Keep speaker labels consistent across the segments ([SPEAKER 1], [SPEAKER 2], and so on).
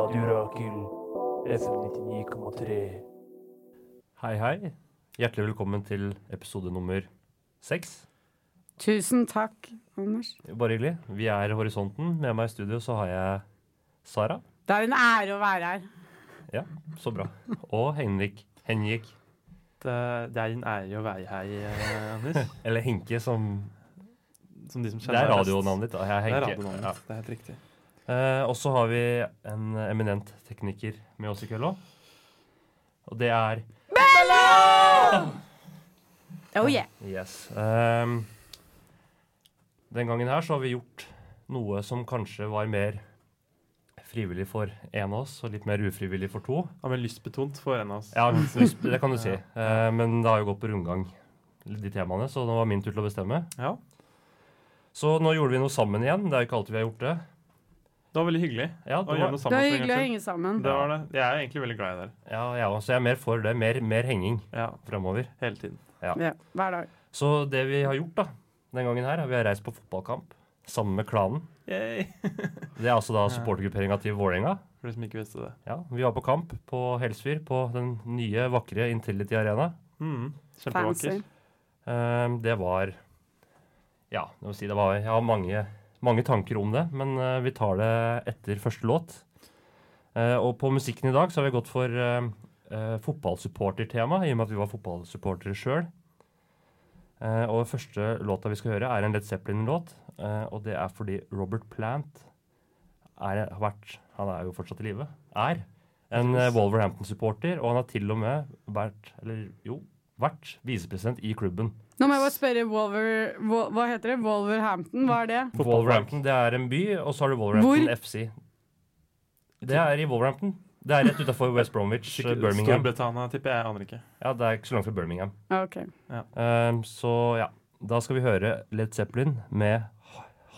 [SPEAKER 1] Sykkel FM99,3.
[SPEAKER 2] Hei, hei. Hjertelig velkommen til episode nummer seks.
[SPEAKER 3] Tusen takk, Anders.
[SPEAKER 2] Bare hyggelig. Vi er Horisonten. Med meg i studio så har jeg Sara.
[SPEAKER 3] Det er en ære å være her.
[SPEAKER 2] Ja, så bra. Og Henrik. Henrik.
[SPEAKER 4] Det, eh, det er en ære å være her, eh, Anders.
[SPEAKER 2] Eller Henke, som
[SPEAKER 4] Som de som
[SPEAKER 2] Det er
[SPEAKER 4] kjenner meg best.
[SPEAKER 2] radionavnet ditt. da. Jeg er
[SPEAKER 4] Det er
[SPEAKER 2] Henke.
[SPEAKER 4] radionavnet mitt. Det er helt riktig.
[SPEAKER 2] Ja. Eh, og så har vi en eminent tekniker med oss i kveld òg. Og det er
[SPEAKER 3] Oh yeah.
[SPEAKER 2] Yes. Ehm, den gangen her så har vi gjort noe som kanskje var mer frivillig for én av oss, og litt mer ufrivillig for to.
[SPEAKER 4] Ja, men lystbetont for en av oss.
[SPEAKER 2] Ja, det kan du si. Eh, men det har jo gått på rundgang, de temaene, så det var min tur til å bestemme.
[SPEAKER 4] Ja,
[SPEAKER 2] Så nå gjorde vi noe sammen igjen. Det er jo ikke alltid vi har gjort det.
[SPEAKER 4] Det var veldig hyggelig
[SPEAKER 2] Ja,
[SPEAKER 4] å
[SPEAKER 2] det
[SPEAKER 4] gjøre
[SPEAKER 2] var,
[SPEAKER 4] noe
[SPEAKER 3] Det
[SPEAKER 4] sammen.
[SPEAKER 3] var
[SPEAKER 4] for en
[SPEAKER 3] hyggelig å
[SPEAKER 4] gangs
[SPEAKER 3] henge sammen.
[SPEAKER 4] skyld. Det var det. Jeg er egentlig veldig glad i dere.
[SPEAKER 2] ja, jeg også. Jeg er mer for det. Mer, mer henging
[SPEAKER 4] Ja,
[SPEAKER 2] fremover.
[SPEAKER 4] hele tiden.
[SPEAKER 3] Ja, hver dag.
[SPEAKER 2] Så det vi har gjort da, den gangen her, er vi har reist på fotballkamp sammen med klanen.
[SPEAKER 4] Yay.
[SPEAKER 2] Det er altså da supportergrupperinga til Vålerenga.
[SPEAKER 4] For de som ikke visste det.
[SPEAKER 2] Ja, vi var på kamp på Helsfyr, på den nye, vakre Intility Arena.
[SPEAKER 4] Mm,
[SPEAKER 3] Fancy.
[SPEAKER 4] Kjempevakker.
[SPEAKER 2] Ehm, det var Ja, jeg må si det var Jeg har mange, mange tanker om det, men eh, vi tar det etter første låt. Eh, og på musikken i dag så har vi gått for uh, fotballsupportertema, i og med at vi var fotballsupportere sjøl. og den første låta vi skal høre, er en Led Zeppelin-låt. eh, og det er fordi Robert Plant er, har vært Han er jo fortsatt i live. Er en eh, Wolverhampton-supporter, og han har til og med vært Eller jo, vært visepresident i klubben.
[SPEAKER 3] Nå må jeg bare spørre Wolver, Wol- Hva heter det? Wolverhampton? Hva er det?
[SPEAKER 2] Wolverhampton det er en by, og så har du Wolverhampton
[SPEAKER 3] Hvor?
[SPEAKER 2] FC. Det er i Wolverhampton. Det er rett utafor West Bromwich, eh, Birmingham.
[SPEAKER 4] Storbritannia, tipper jeg. Jeg aner ikke.
[SPEAKER 2] Ja, Det er ikke så langt fra Birmingham.
[SPEAKER 3] Ok.
[SPEAKER 2] Ehm, så ja, da skal vi høre Led Zeppelin med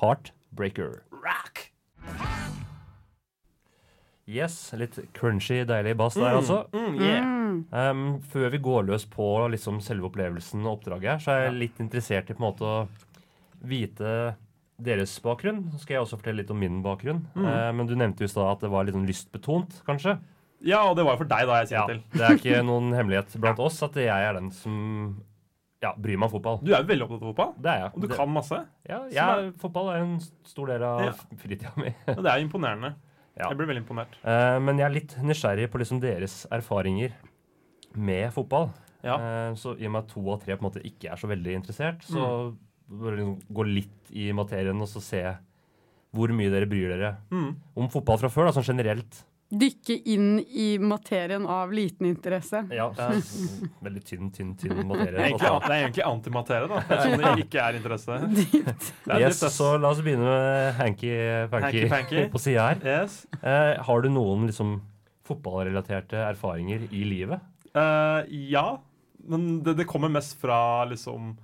[SPEAKER 2] Heartbreaker. Rock! Yes, litt crunchy, deilig bass der, altså.
[SPEAKER 4] Mm, yeah.
[SPEAKER 3] Mm.
[SPEAKER 2] Ehm, før vi går løs på liksom, selve opplevelsen og oppdraget her, så er jeg litt interessert i på en måte å vite deres bakgrunn. Så skal jeg også fortelle litt om min bakgrunn.
[SPEAKER 4] Mm.
[SPEAKER 2] Eh, men du nevnte jo i stad at det var litt sånn lystbetont, kanskje?
[SPEAKER 4] Ja, og det var jo for deg, da, jeg sier
[SPEAKER 2] Ja,
[SPEAKER 4] til.
[SPEAKER 2] det er ikke noen hemmelighet blant oss at jeg er den som ja, bryr meg om fotball.
[SPEAKER 4] Du er jo veldig opptatt av fotball.
[SPEAKER 2] Det er jeg.
[SPEAKER 4] Og du
[SPEAKER 2] Det-
[SPEAKER 4] kan masse.
[SPEAKER 2] Ja,
[SPEAKER 4] som
[SPEAKER 2] jeg, fotball er en stor del av
[SPEAKER 4] Ja.
[SPEAKER 2] fritida mi.
[SPEAKER 4] Og det er jo imponerende.
[SPEAKER 2] Ja.
[SPEAKER 4] Jeg blir veldig imponert.
[SPEAKER 2] Eh, men jeg er litt nysgjerrig på liksom deres erfaringer med fotball.
[SPEAKER 4] Ja.
[SPEAKER 2] Eh, så i og med at to av tre på en måte ikke er så veldig interessert, så
[SPEAKER 4] Mm.
[SPEAKER 2] bør dere liksom gå litt i materien og så se hvor mye dere bryr dere
[SPEAKER 4] Mm.
[SPEAKER 2] om fotball fra før, da, sånn generelt.
[SPEAKER 3] Dykke inn i materien av liten interesse.
[SPEAKER 2] Ja, s- veldig tynn, tynn, tynn
[SPEAKER 4] Det er
[SPEAKER 2] materie. Altså,
[SPEAKER 4] egentlig,
[SPEAKER 2] også.
[SPEAKER 4] det er egentlig antimaterie, da. Det er sånn det ikke er interesse.
[SPEAKER 3] Dypt.
[SPEAKER 4] Det er
[SPEAKER 2] Yes,
[SPEAKER 4] dypt, ass.
[SPEAKER 2] så la oss begynne med hanky-panky
[SPEAKER 4] Hanky-panky.
[SPEAKER 2] på sida her.
[SPEAKER 4] Yes.
[SPEAKER 2] Eh, har du noen liksom fotballrelaterte erfaringer i livet?
[SPEAKER 4] Eh, ja, men det, det kommer mest fra liksom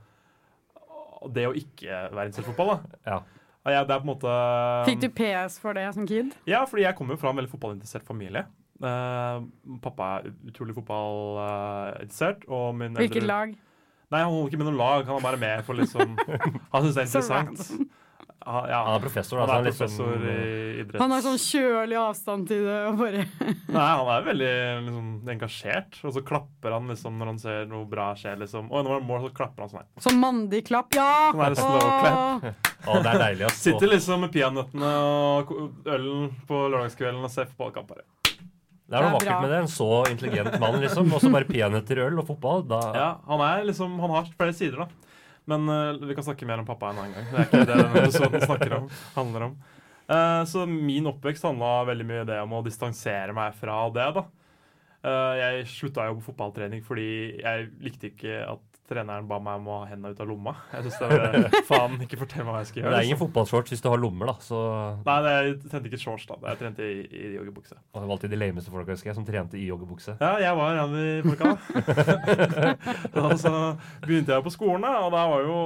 [SPEAKER 4] det å ikke være interessert i fotball. da.
[SPEAKER 2] Ja.
[SPEAKER 4] Og jeg- det er på en måte... eh,
[SPEAKER 3] Fikk du PS for det som kid?
[SPEAKER 4] Ja, fordi jeg kommer jo fra en veldig fotballinteressert familie. Eh, pappa er utrolig fotballinteressert. og min
[SPEAKER 3] Hvilket
[SPEAKER 4] eldre-
[SPEAKER 3] lag?
[SPEAKER 4] Nei, Han holder ikke med noen lag, han er bare med for liksom Han syns det er
[SPEAKER 3] Så
[SPEAKER 4] interessant. Han, ja,
[SPEAKER 2] Han er professor, da,
[SPEAKER 4] han
[SPEAKER 2] så
[SPEAKER 4] er
[SPEAKER 2] han liksom-
[SPEAKER 4] professor i idrett.
[SPEAKER 3] Han har sånn kjølig avstand til det og bare
[SPEAKER 4] Nei, han er veldig liksom, engasjert, og så klapper han liksom når han ser noe bra skje. liksom. Og når det er mål, så klapper han sånn her.
[SPEAKER 3] Sånn mandig klapp. Ja!
[SPEAKER 4] Sånn er det slow clap.
[SPEAKER 3] Åh.
[SPEAKER 2] Å, det er deilig. Ass.
[SPEAKER 4] Sitter liksom med peanøttene og ko- ølen på lørdagskvelden og ser fotballkamp. bare.
[SPEAKER 2] Det er noe
[SPEAKER 3] Det er
[SPEAKER 2] vakkert
[SPEAKER 3] bra.
[SPEAKER 2] med det. En så intelligent mann, liksom. Og så bare peanøtter, øl og fotball. Da,
[SPEAKER 4] Ja, Han er liksom, han har flere sider, da. Men eh, vi kan snakke mer om pappa en annen gang. Det er ikke det denne episoden snakker om, handler om. Eh, så min oppvekst handla veldig mye det om å distansere meg fra det. da. Eh, jeg slutta jo på fotballtrening fordi jeg likte ikke at treneren ba meg om å ha hendene ut av lomma. Jeg synes det var, faen, ikke fortell meg hva jeg skal
[SPEAKER 2] Men
[SPEAKER 4] gjøre.
[SPEAKER 2] Det er ingen
[SPEAKER 4] liksom.
[SPEAKER 2] fotballshorts hvis du har lommer, da. Så
[SPEAKER 4] Nei, det- jeg trente ikke shorts, da. Jeg trente i, i joggebukse.
[SPEAKER 2] og det var alltid de lameste folka, husker jeg, som trente i joggebukse.
[SPEAKER 4] Ja, jeg var en av de folka. da Og så begynte jeg på skolen, da, og da var jo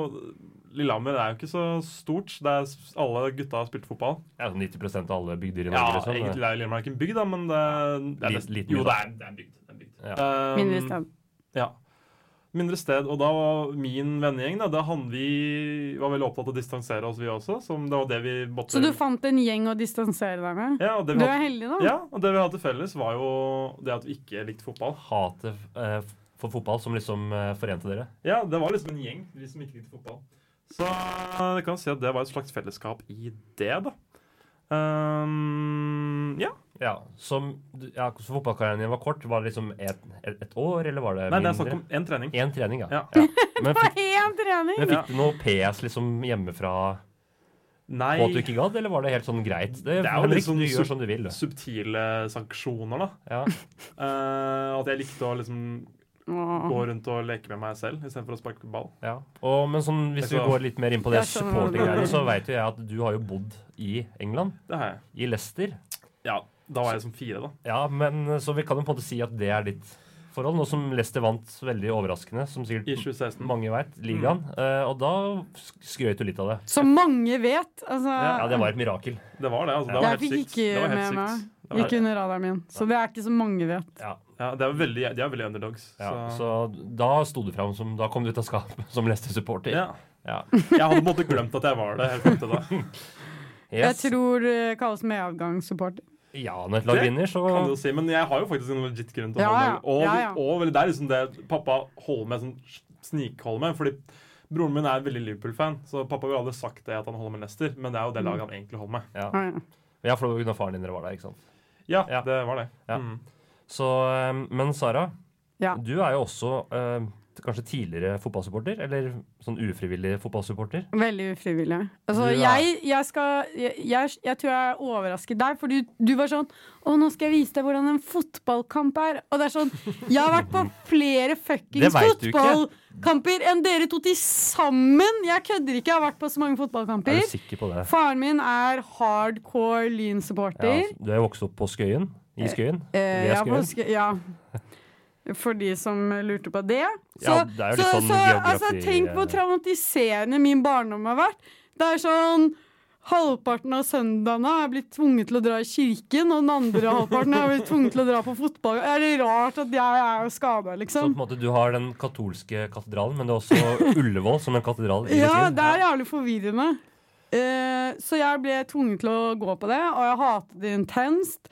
[SPEAKER 4] Lillehammer er jo ikke så stort. Det er, s- alle gutta har spilt fotball.
[SPEAKER 2] Ja, sånn 90 av alle bygder i
[SPEAKER 4] Ja,
[SPEAKER 2] Norge. liksom.
[SPEAKER 4] egentlig er jo Lillehammer ikke en bygd, da, men det, det
[SPEAKER 2] Li-
[SPEAKER 4] er nesten-
[SPEAKER 2] liten
[SPEAKER 4] Jo,
[SPEAKER 2] bygd, da.
[SPEAKER 4] det er, det er en bygd. Det er en bygd.
[SPEAKER 2] Ja.
[SPEAKER 4] Um,
[SPEAKER 3] Mindre sted.
[SPEAKER 4] ja. Mindre sted. Og da var min vennegjeng da, da han, Vi var veldig opptatt av å distansere oss, vi også. Som det var det vi måtte
[SPEAKER 3] Så du fant en gjeng å distansere deg med?
[SPEAKER 4] ja, og det
[SPEAKER 3] Du
[SPEAKER 4] vi
[SPEAKER 3] er
[SPEAKER 4] hadde,
[SPEAKER 3] heldig, da.
[SPEAKER 4] ja, og det vi hadde til felles, var jo det at vi ikke likte fotball.
[SPEAKER 2] Hatet eh, for fotball som liksom eh, forente dere?
[SPEAKER 4] Ja, det var liksom en gjeng, de som ikke likte fotball. Så jeg kan si at det var et slags fellesskap i det, da. Ehm, ja.
[SPEAKER 2] Ja, som, ja, så fotballkarrieren din var kort. Var det liksom et, et, et år, eller var det
[SPEAKER 4] Nei, det er snakk om én trening.
[SPEAKER 2] Én trening, ja.
[SPEAKER 4] Ja.
[SPEAKER 2] Men
[SPEAKER 3] På
[SPEAKER 2] fikk,
[SPEAKER 3] én trening!
[SPEAKER 2] men fikk du noe PS liksom hjemmefra
[SPEAKER 4] Nei,
[SPEAKER 2] på at du ikke gadd, eller var det helt sånn greit? Det,
[SPEAKER 4] Det er jo
[SPEAKER 2] Henrik,
[SPEAKER 4] litt sånn
[SPEAKER 2] du
[SPEAKER 4] sub-
[SPEAKER 2] gjør som du vil, du.
[SPEAKER 4] subtile sanksjoner, da.
[SPEAKER 2] Ja.
[SPEAKER 4] Eh, at jeg likte å liksom
[SPEAKER 3] Åh.
[SPEAKER 4] gå rundt og leke med meg selv istedenfor å sparke ball.
[SPEAKER 2] Ja. Og, men sånn, hvis vi
[SPEAKER 4] Altså-
[SPEAKER 2] går litt mer inn på det
[SPEAKER 3] Jeg skjønner hva du
[SPEAKER 2] supportergreiene,
[SPEAKER 3] mener.
[SPEAKER 2] så veit jo jeg at du har jo bodd i England,
[SPEAKER 4] Det har jeg.
[SPEAKER 2] i Leicester.
[SPEAKER 4] Ja, da var jeg som fire, da.
[SPEAKER 2] Ja, men Så vi kan jo på en måte si at det er ditt forhold, nå som Leicester vant veldig overraskende, som
[SPEAKER 4] I Mm.
[SPEAKER 2] sikkert
[SPEAKER 4] 2016.
[SPEAKER 2] mange veit, ligaen. Eh, og da sk- skrøt du litt av det.
[SPEAKER 3] Som mange vet. Altså,
[SPEAKER 2] Ja, det var et mirakel.
[SPEAKER 4] Det var det. altså. Det
[SPEAKER 3] Jeg
[SPEAKER 4] var helt
[SPEAKER 3] fikk
[SPEAKER 4] sykt.
[SPEAKER 3] ikke
[SPEAKER 4] Det var helt
[SPEAKER 3] med
[SPEAKER 4] sykt.
[SPEAKER 3] meg.
[SPEAKER 4] Det var-
[SPEAKER 3] Gikk under radaren min. Så det er ikke så mange vet.
[SPEAKER 2] Ja,
[SPEAKER 4] Ja, det er veldig, de er veldig underdogs.
[SPEAKER 2] ja,
[SPEAKER 4] så.
[SPEAKER 2] så da sto du fram som Da kom du ut av skapet som Leicester-supporter.
[SPEAKER 4] Ja.
[SPEAKER 2] Ja.
[SPEAKER 4] Jeg hadde på en måte glemt at jeg var det. helt frem til da.
[SPEAKER 2] Yes.
[SPEAKER 3] Jeg tror det kalles medavgangssupporter.
[SPEAKER 2] ja, når et lag
[SPEAKER 4] Det
[SPEAKER 2] vinner, så
[SPEAKER 4] Kan du jo si, Men jeg har jo faktisk en legit grunn til å
[SPEAKER 3] Ja,
[SPEAKER 4] holde
[SPEAKER 3] ja.
[SPEAKER 4] meg. Og,
[SPEAKER 3] Ja, ja.
[SPEAKER 4] og vel, det er liksom det pappa holder med, sånn snikholder med. Fordi broren min er veldig Liverpool-fan, så pappa ville aldri sagt det at han holder med Leicester. Men det er jo
[SPEAKER 3] Mm.
[SPEAKER 4] det laget han egentlig holder med.
[SPEAKER 2] ja.
[SPEAKER 3] Ah, ja.
[SPEAKER 2] ja, for det var jo når faren din var der, ikke sant.
[SPEAKER 4] Ja,
[SPEAKER 2] Ja.
[SPEAKER 4] det var det.
[SPEAKER 2] Ja.
[SPEAKER 4] Mm.
[SPEAKER 2] Så, eh, men Sara,
[SPEAKER 3] Ja.
[SPEAKER 2] du er jo også eh, kanskje tidligere fotballsupporter? Eller sånn ufrivillig fotballsupporter?
[SPEAKER 3] Veldig ufrivillig.
[SPEAKER 2] Du
[SPEAKER 3] Altså,
[SPEAKER 2] er-
[SPEAKER 3] jeg, jeg, skal, jeg, jeg, jeg tror jeg overrasket deg, for du, du var sånn Å, nå skal jeg vise deg hvordan en fotballkamp er. Og det er sånn Jeg har vært på flere
[SPEAKER 2] Det
[SPEAKER 3] fuckings
[SPEAKER 2] vet du ikke.
[SPEAKER 3] fotballkamper enn dere to til sammen! Jeg kødder ikke, jeg har vært på så mange
[SPEAKER 2] Er
[SPEAKER 3] fotballkamper.
[SPEAKER 2] du sikker på det?
[SPEAKER 3] Faren min er hardcore
[SPEAKER 2] Ja, altså,
[SPEAKER 3] Lyn-supporter.
[SPEAKER 2] du er jo vokst opp på Skøyen? I Skøyen?
[SPEAKER 3] Eh,
[SPEAKER 2] Ved
[SPEAKER 3] ja, på,
[SPEAKER 2] Skøyen?
[SPEAKER 3] sk- ja. For de som lurte på det. Så,
[SPEAKER 2] Ja, det er jo litt
[SPEAKER 3] så,
[SPEAKER 2] sånn
[SPEAKER 3] så
[SPEAKER 2] geografi- eh,
[SPEAKER 3] altså, tenk hvor traumatiserende min barndom har vært. Det er sånn Halvparten av søndagene er blitt tvunget til å dra i kirken, og den andre halvparten er blitt tvunget til å dra på fotball. Er det rart at jeg er jo skada,
[SPEAKER 2] Så på
[SPEAKER 3] liksom?
[SPEAKER 2] en måte du har den katolske katedralen, men det er også Ullevål som en katedral. i
[SPEAKER 3] Ja,
[SPEAKER 2] sin.
[SPEAKER 3] det er jævlig forvirrende. Eh, så jeg ble tvunget til å gå på det, og jeg hatet det intenst.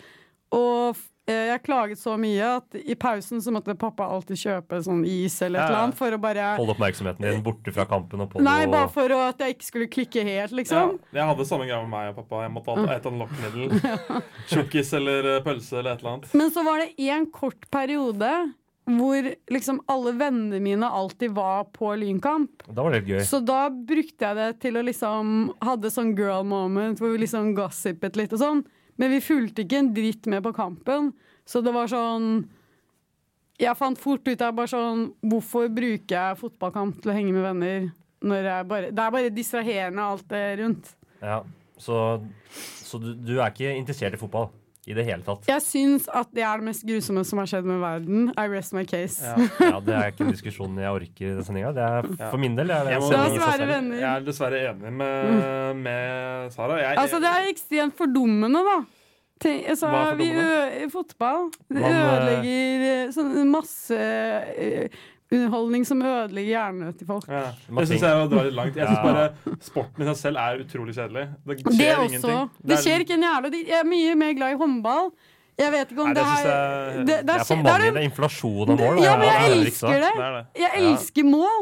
[SPEAKER 3] Og f- eh, jeg klaget så mye at i pausen så måtte pappa alltid kjøpe sånn is eller et
[SPEAKER 4] Ja, ja.
[SPEAKER 3] eller annet for å bare
[SPEAKER 2] Hold oppmerksomheten din borte fra kampen og på
[SPEAKER 3] Nei, bare for å, at jeg ikke skulle klikke helt,
[SPEAKER 4] Ja,
[SPEAKER 3] liksom.
[SPEAKER 4] jeg hadde samme greia med meg og pappa. Jeg måtte alltid ete en lokkmiddel. Tjukkis eller eh, pølse eller et eller annet.
[SPEAKER 3] Men så var det én kort periode hvor liksom alle vennene mine alltid var på lynkamp.
[SPEAKER 2] Da var det litt gøy.
[SPEAKER 3] Så da brukte jeg det til å liksom Hadde sånn girl moment hvor vi liksom gossipet litt og sånn. Men vi fulgte ikke en dritt med på kampen. Så det var sånn Jeg fant fort ut av bare sånn Hvorfor bruker jeg fotballkamp til å henge med venner? Når jeg bare, det er bare distraherende, alt det rundt.
[SPEAKER 2] Ja, så, så du, du er ikke interessert i fotball i det hele tatt?
[SPEAKER 3] Jeg syns at det er det mest grusomme som har skjedd med verden. I rest my case.
[SPEAKER 4] Ja.
[SPEAKER 2] Ja, Det er ikke en diskusjon jeg orker i den sendinga. Det er
[SPEAKER 4] Ja.
[SPEAKER 2] for min del. Det er
[SPEAKER 4] Jeg
[SPEAKER 2] en
[SPEAKER 4] må-
[SPEAKER 3] La
[SPEAKER 2] sending
[SPEAKER 3] oss
[SPEAKER 2] i seg
[SPEAKER 3] være
[SPEAKER 2] selv.
[SPEAKER 3] venner.
[SPEAKER 4] Jeg er dessverre enig med, med Sara. Jeg,
[SPEAKER 3] Mm. Altså, det er ekstremt fordummende, da. Tenk, altså,
[SPEAKER 4] Hva er
[SPEAKER 3] vi
[SPEAKER 4] fordummende?
[SPEAKER 3] ø fotball det
[SPEAKER 2] Man, eh,
[SPEAKER 3] ødelegger eh, sånn masse eh, underholdning som ødelegger hjernen til folk.
[SPEAKER 4] Ja.
[SPEAKER 2] Man
[SPEAKER 4] Det syns
[SPEAKER 2] tenker-
[SPEAKER 4] jeg drar litt langt. Jeg synes
[SPEAKER 2] Ja.
[SPEAKER 4] bare Sporten i seg selv er utrolig kjedelig. Det skjer
[SPEAKER 3] Det også.
[SPEAKER 4] ingenting.
[SPEAKER 3] Det skjer ikke en jævla dritt. Jeg er mye mer glad i håndball. Jeg vet ikke om
[SPEAKER 4] Nei,
[SPEAKER 3] det,
[SPEAKER 4] det
[SPEAKER 3] er
[SPEAKER 4] synes jeg-
[SPEAKER 3] det,
[SPEAKER 2] Det
[SPEAKER 3] det,
[SPEAKER 2] er
[SPEAKER 3] skje-
[SPEAKER 2] for
[SPEAKER 3] det er
[SPEAKER 2] mange.
[SPEAKER 3] en-
[SPEAKER 2] Det er inflasjon av mål.
[SPEAKER 3] Ja, men jeg
[SPEAKER 2] det er
[SPEAKER 3] elsker det!
[SPEAKER 4] Det er det.
[SPEAKER 3] Jeg
[SPEAKER 2] Ja.
[SPEAKER 3] elsker mål!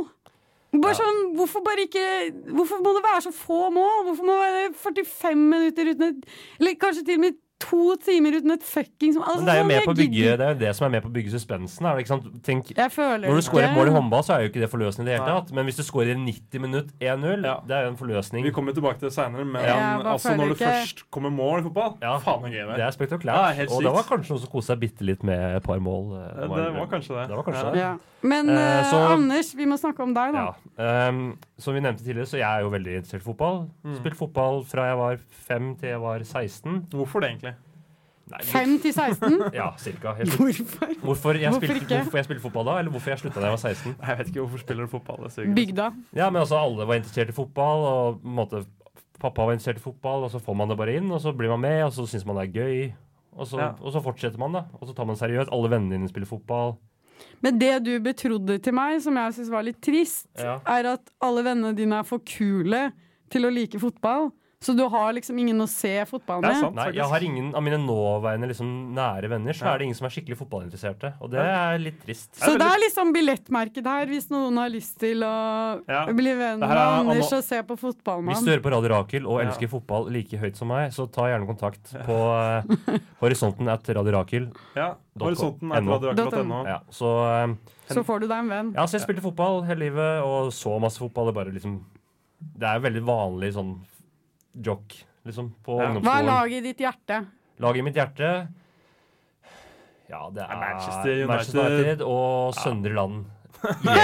[SPEAKER 3] Bare
[SPEAKER 2] Ja.
[SPEAKER 3] sånn, hvorfor bare ikke Hvorfor må det være så få mål? Hvorfor må det være 45 minutter uten et Eller kanskje til og med to timer uten et fuckings mål? Altså,
[SPEAKER 2] Men det er jo
[SPEAKER 3] sånn,
[SPEAKER 2] med
[SPEAKER 3] jeg
[SPEAKER 2] på å bygge,
[SPEAKER 3] gidder-
[SPEAKER 2] det er jo det som er med på å bygge suspensen. Er det, ikke sant? Tenk,
[SPEAKER 3] Jeg føler
[SPEAKER 2] når du
[SPEAKER 3] ikke-
[SPEAKER 2] skårer et mål i håndball, så er jo ikke det forløsende i det hele
[SPEAKER 4] Nei.
[SPEAKER 2] tatt. Men hvis du skårer i 90 minutt 1-0,
[SPEAKER 4] Ja.
[SPEAKER 2] det er jo en forløsning.
[SPEAKER 4] Vi kommer tilbake til det seinere, men
[SPEAKER 3] Ja, hva
[SPEAKER 4] altså,
[SPEAKER 3] føler
[SPEAKER 4] når det
[SPEAKER 3] ikke-
[SPEAKER 4] først kommer mål i fotball
[SPEAKER 2] Ja.
[SPEAKER 4] Faen, så gøy det
[SPEAKER 2] Det
[SPEAKER 4] er.
[SPEAKER 2] er
[SPEAKER 4] Ja,
[SPEAKER 2] spektakulært.
[SPEAKER 4] helt
[SPEAKER 2] og
[SPEAKER 4] sykt.
[SPEAKER 2] det var kanskje noen som koste seg bitte litt med et par mål. eh,
[SPEAKER 4] Det,
[SPEAKER 2] må jeg
[SPEAKER 4] det
[SPEAKER 2] innrømme.
[SPEAKER 4] var kanskje det.
[SPEAKER 2] Det var kanskje
[SPEAKER 4] Ja.
[SPEAKER 2] det.
[SPEAKER 3] ja. Men
[SPEAKER 2] Eh,
[SPEAKER 3] eh,
[SPEAKER 2] så-
[SPEAKER 3] Anders, vi må snakke om deg, da.
[SPEAKER 2] Ja. ehm, som vi nevnte tidligere, så jeg er jo veldig interessert i fotball.
[SPEAKER 4] Mm.
[SPEAKER 2] Spilt fotball fra jeg var 5 til jeg var 16.
[SPEAKER 4] Hvorfor det, egentlig?
[SPEAKER 2] Nei,
[SPEAKER 3] 5 til 16?
[SPEAKER 2] Ja, cirka. Jeg slutt-
[SPEAKER 3] Hvorfor?
[SPEAKER 2] Hvorfor jeg,
[SPEAKER 3] Hvorfor
[SPEAKER 2] spilte,
[SPEAKER 3] ikke?
[SPEAKER 2] hvorfor jeg spilte fotball da, eller hvorfor jeg slutta da jeg var 16.
[SPEAKER 4] Jeg vet ikke hvorfor spiller du fotball. Det suger.
[SPEAKER 3] Bygda.
[SPEAKER 2] Ja, men altså, Alle var interessert i fotball, og på en måte, pappa var interessert i fotball, og så får man det bare inn, og så blir man med, og så syns man det er gøy. Og så,
[SPEAKER 4] Ja.
[SPEAKER 2] og så fortsetter man, da. Og så tar man det seriøst. Alle vennene dine spiller fotball.
[SPEAKER 3] Men det du betrodde til meg, som jeg syns var litt trist,
[SPEAKER 2] Ja.
[SPEAKER 3] er at alle vennene dine er for kule til å like fotball. Så du har liksom ingen å se fotball
[SPEAKER 4] Det er
[SPEAKER 3] med.
[SPEAKER 4] sant.
[SPEAKER 2] Nei, jeg har ingen av mine nåværende liksom, nære venner, så er det ingen som er skikkelig fotballinteresserte. Og det er litt trist.
[SPEAKER 3] Så
[SPEAKER 4] Det er
[SPEAKER 3] det
[SPEAKER 4] veldig-
[SPEAKER 3] er liksom billettmarked her, hvis noen har lyst til å
[SPEAKER 4] Ja.
[SPEAKER 3] bli venn
[SPEAKER 4] Det
[SPEAKER 3] med
[SPEAKER 4] her er
[SPEAKER 3] Anders
[SPEAKER 4] anal-
[SPEAKER 3] og se på
[SPEAKER 2] Hvis du
[SPEAKER 3] fotballmann.
[SPEAKER 2] hører på Radio Rakel og
[SPEAKER 4] Ja.
[SPEAKER 2] elsker fotball like høyt som meg, så ta gjerne kontakt på eh, horisonten at Radio Rakel.
[SPEAKER 4] Ja, Horisonten er
[SPEAKER 2] .no.
[SPEAKER 4] radioaktivt.no.
[SPEAKER 2] Ja, så, eh,
[SPEAKER 3] Så får du deg en venn.
[SPEAKER 2] ja, så jeg spilte fotball hele livet og så masse fotball. Det, er bare, liksom, det er veldig vanlig sånn jock liksom, på
[SPEAKER 3] Hva
[SPEAKER 4] Ja.
[SPEAKER 3] er
[SPEAKER 2] ungdomsskolen.
[SPEAKER 3] laget i ditt hjerte?
[SPEAKER 2] Laget i mitt hjerte Ja, det er
[SPEAKER 4] Manchester United.
[SPEAKER 2] og Søndre Land.
[SPEAKER 4] Er det-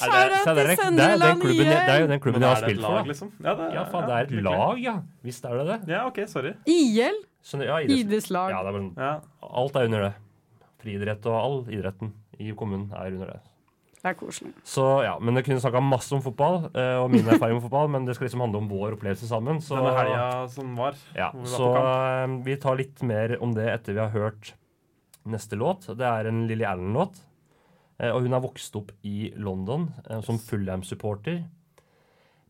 [SPEAKER 3] Shout-out
[SPEAKER 2] Så det, er, det,
[SPEAKER 3] til
[SPEAKER 2] er, den
[SPEAKER 3] Sønderland
[SPEAKER 2] klubben, jeg- det er jo
[SPEAKER 3] IL!
[SPEAKER 2] den
[SPEAKER 4] Men
[SPEAKER 2] klubben jeg har
[SPEAKER 4] er det et
[SPEAKER 2] spilt for.
[SPEAKER 4] lag,
[SPEAKER 2] da.
[SPEAKER 4] liksom? Ja, det,
[SPEAKER 2] Ja, faen, det er et
[SPEAKER 4] virkelig.
[SPEAKER 2] lag, ja. Visst er det det.
[SPEAKER 4] Ja, OK, sorry.
[SPEAKER 3] IL?
[SPEAKER 2] Skjønner, ja, idretts-
[SPEAKER 3] Ides lag.
[SPEAKER 2] ja, det er bare, sånn-
[SPEAKER 4] Ja.
[SPEAKER 2] alt er under det. Friidrett og all idretten i kommunen er under det.
[SPEAKER 3] Det er koselig.
[SPEAKER 2] Så ja, Men jeg kunne snakka masse om fotball eh, og min erfaring med fotball, men det skal liksom handle om vår opplevelse sammen. Så,
[SPEAKER 4] Denne helga som var.
[SPEAKER 2] ja,
[SPEAKER 4] hvor vi var
[SPEAKER 2] så
[SPEAKER 4] på
[SPEAKER 2] eh, vi tar litt mer om det etter vi har hørt neste låt. Det er en Lilly Allen-låt. Eh, og hun er vokst opp i London eh, som Fulham-supporter.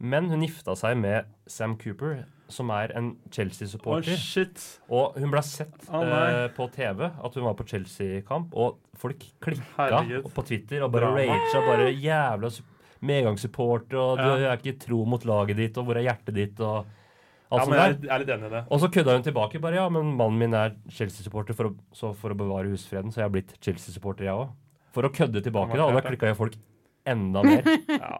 [SPEAKER 2] Men hun gifta seg med Sam Cooper, som er en
[SPEAKER 4] Å,
[SPEAKER 2] Chelsea-supporter.
[SPEAKER 4] shit.
[SPEAKER 2] Og hun ble sett
[SPEAKER 4] Å, nei.
[SPEAKER 2] eh, på TV at hun var på Chelsea-kamp, og folk klikka
[SPEAKER 4] Herregud.
[SPEAKER 2] på Twitter og bare
[SPEAKER 4] Drama.
[SPEAKER 2] raga bare jævla sup- medgangssupporter, og du
[SPEAKER 4] Ja.
[SPEAKER 2] er ikke tro mot laget ditt, og hvor er hjertet ditt, og alt
[SPEAKER 4] Ja,
[SPEAKER 2] sånt
[SPEAKER 4] men jeg
[SPEAKER 2] der.
[SPEAKER 4] er litt enig i det.
[SPEAKER 2] Og så kødda hun tilbake bare, ja, men mannen min er Chelsea-supporter, for, å- så for å bevare husfreden, så jeg har blitt Chelsea-supporter, jeg òg. For å kødde tilbake, da, og da klikka jo folk enda mer.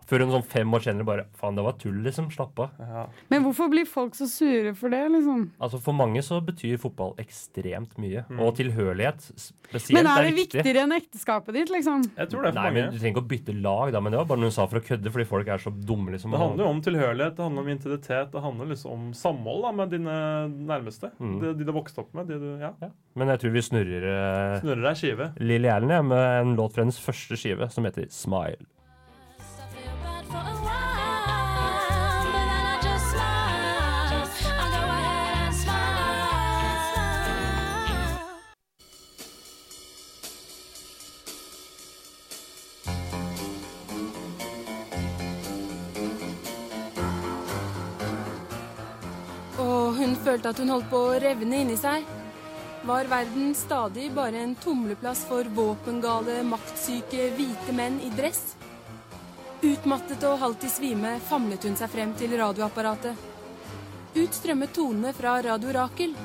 [SPEAKER 2] Før hun sånn fem år senere bare Faen, det var tull, liksom. Slapp av.
[SPEAKER 4] Ja.
[SPEAKER 3] Men hvorfor blir folk så sure for det, liksom?
[SPEAKER 2] Altså For mange så betyr fotball ekstremt mye.
[SPEAKER 4] Mm.
[SPEAKER 2] Og tilhørighet spesielt
[SPEAKER 3] Men er det
[SPEAKER 2] viktig.
[SPEAKER 3] viktigere enn ekteskapet ditt, liksom?
[SPEAKER 4] Jeg tror det er for
[SPEAKER 2] Nei, men Du
[SPEAKER 4] mange.
[SPEAKER 2] trenger ikke å bytte lag, da, men det var bare noe hun sa for å kødde fordi folk er så dumme. liksom
[SPEAKER 4] Det handler jo om tilhørighet, det handler om intimitet, det handler liksom om samhold da, med dine nærmeste.
[SPEAKER 2] Mm.
[SPEAKER 4] De, de du har vokst opp med. De du, ja.
[SPEAKER 2] Men jeg tror vi snurrer uh,
[SPEAKER 4] Snurrer deg i skive.
[SPEAKER 2] Lilly Allen ja, med en låt fra hennes første skive som heter 'Smile'.
[SPEAKER 5] I feel bad for a while, but then I just smile. I go ahead and smile.
[SPEAKER 6] Og hun følte at hun holdt på å revne inni seg. Var verden stadig bare en tumleplass for våpengale, maktsyke, hvite menn i dress? Utmattet og halvt i svime famlet hun seg frem til radioapparatet. Ut strømmet tonene fra Radio Rakel.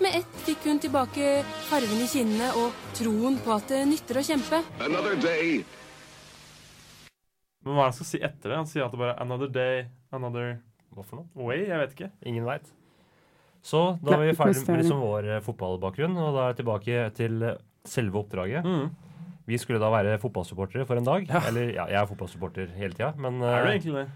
[SPEAKER 6] Med ett fikk hun tilbake farven i kinnene og troen på at det nytter å kjempe.
[SPEAKER 7] Another day,
[SPEAKER 4] Men hva er det han skal si etter det? Han sier at det bare er 'another day, another
[SPEAKER 2] Hva for noe?
[SPEAKER 4] way'. Jeg vet ikke.
[SPEAKER 2] Ingen veit. Så da er
[SPEAKER 3] Nei,
[SPEAKER 2] vi ferdig med
[SPEAKER 3] mysterium.
[SPEAKER 2] liksom vår eh, fotballbakgrunn, og da er jeg tilbake til eh, selve oppdraget.
[SPEAKER 4] Mm.
[SPEAKER 2] Vi skulle da være fotballsupportere for en dag. Eller ja, jeg er fotballsupporter hele tida, men
[SPEAKER 4] Er du
[SPEAKER 2] eh,
[SPEAKER 4] egentlig det?